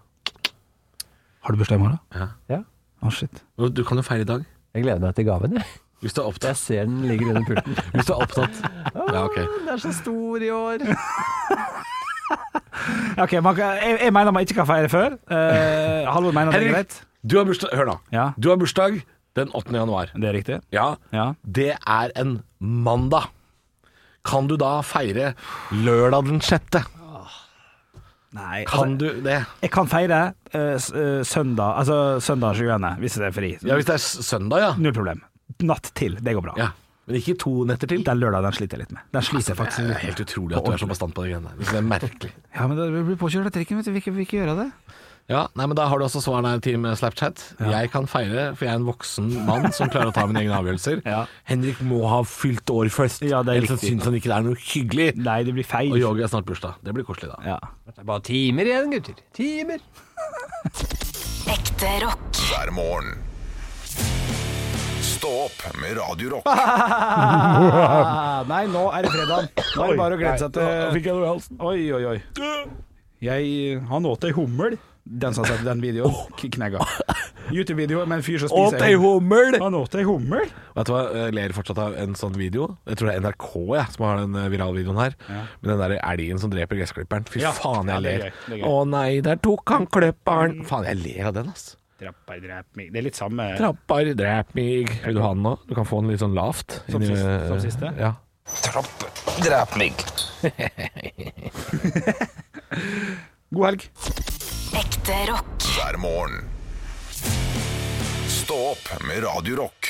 E: Har du bursdag i morgen?
H: Ja.
E: Å, shit.
D: Du kan jo feire i dag.
H: Jeg gleder meg til gaven, jeg.
D: Hvis du er opptatt.
H: Jeg ser den ligger under pulten.
D: Hvis du er opptatt. Ja, ok.
H: Den er så stor i år.
E: Ok, man kan, jeg, jeg mener man ikke kan feire før. Eh, Halvor mener det er greit.
D: du har bursdag Hør nå.
E: Ja.
D: Du har bursdag den 8. januar.
E: Det er riktig.
D: Ja.
E: Ja.
D: Det er en mandag. Kan du da feire lørdag den 6.?
E: Nei,
D: Kan du det?
E: Jeg kan feire eh, s- eh, søndag Altså søndag 20. hvis det er fri.
D: Ja, hvis det er s- søndag, ja.
E: Null problem. Natt til, det går bra.
D: ja. Men ikke to netter til.
E: Den lørdagen den sliter jeg litt med. Den sliter jeg faktisk
D: Det
E: litt
D: er helt utrolig at du er så bastant på de greiene der. Det er merkelig.
E: Ja, men det blir påkjørt av trikken, vet du. Vi vil ikke gjøre det.
D: Ja, nei, men Da har du også svarene her, Team Snapchat. Jeg kan feire, for jeg er en voksen mann som klarer å ta mine egne avgjørelser.
E: Ja.
D: Henrik må ha fylt år først,
E: Ja, det er
D: ellers så
E: riktig.
D: syns han ikke det er noe hyggelig.
E: Nei, det blir feil.
D: Og Yogi er snart bursdag. Det blir koselig, da.
E: Ja.
H: Det er bare timer igjen, gutter. Timer.
B: Ekte rock.
A: hver morgen. Stå opp med Radio Rock.
E: nei, nå er det fredag. Nå er det bare å glede seg til
D: jeg noe i halsen.
E: Oi, oi, oi. Jeg Han åt ei hummel. Den som har sett den videoen, k- knegga. YouTube-video med en fyr som spiser en-
D: hummel!
E: Han åt ei hummel?
D: Vet du hva, jeg ler fortsatt av en sånn video. Jeg tror det er NRK jeg, som har den eh, viralvideoen her. Med den der elgen som dreper gressklipperen. Fy
E: Ja.
D: faen,
E: Ja,
D: jeg
E: det er
D: ler.
E: gøy, det er gøy.
D: Å nei, der tok han klipperen. Faen, jeg ler av den, ass.
E: Drappa i drep meg. Det er litt samme
D: Trappar, drep meg. Vil du ha den nå? Du kan få den litt sånn lavt.
E: Som
D: Inni,
E: sist-
D: eh,
E: som siste?
D: Ja.
A: Trapp, drep meg.
E: God helg.
B: Ekte rock.
A: Hver morgen. Stå opp med Radio Rock.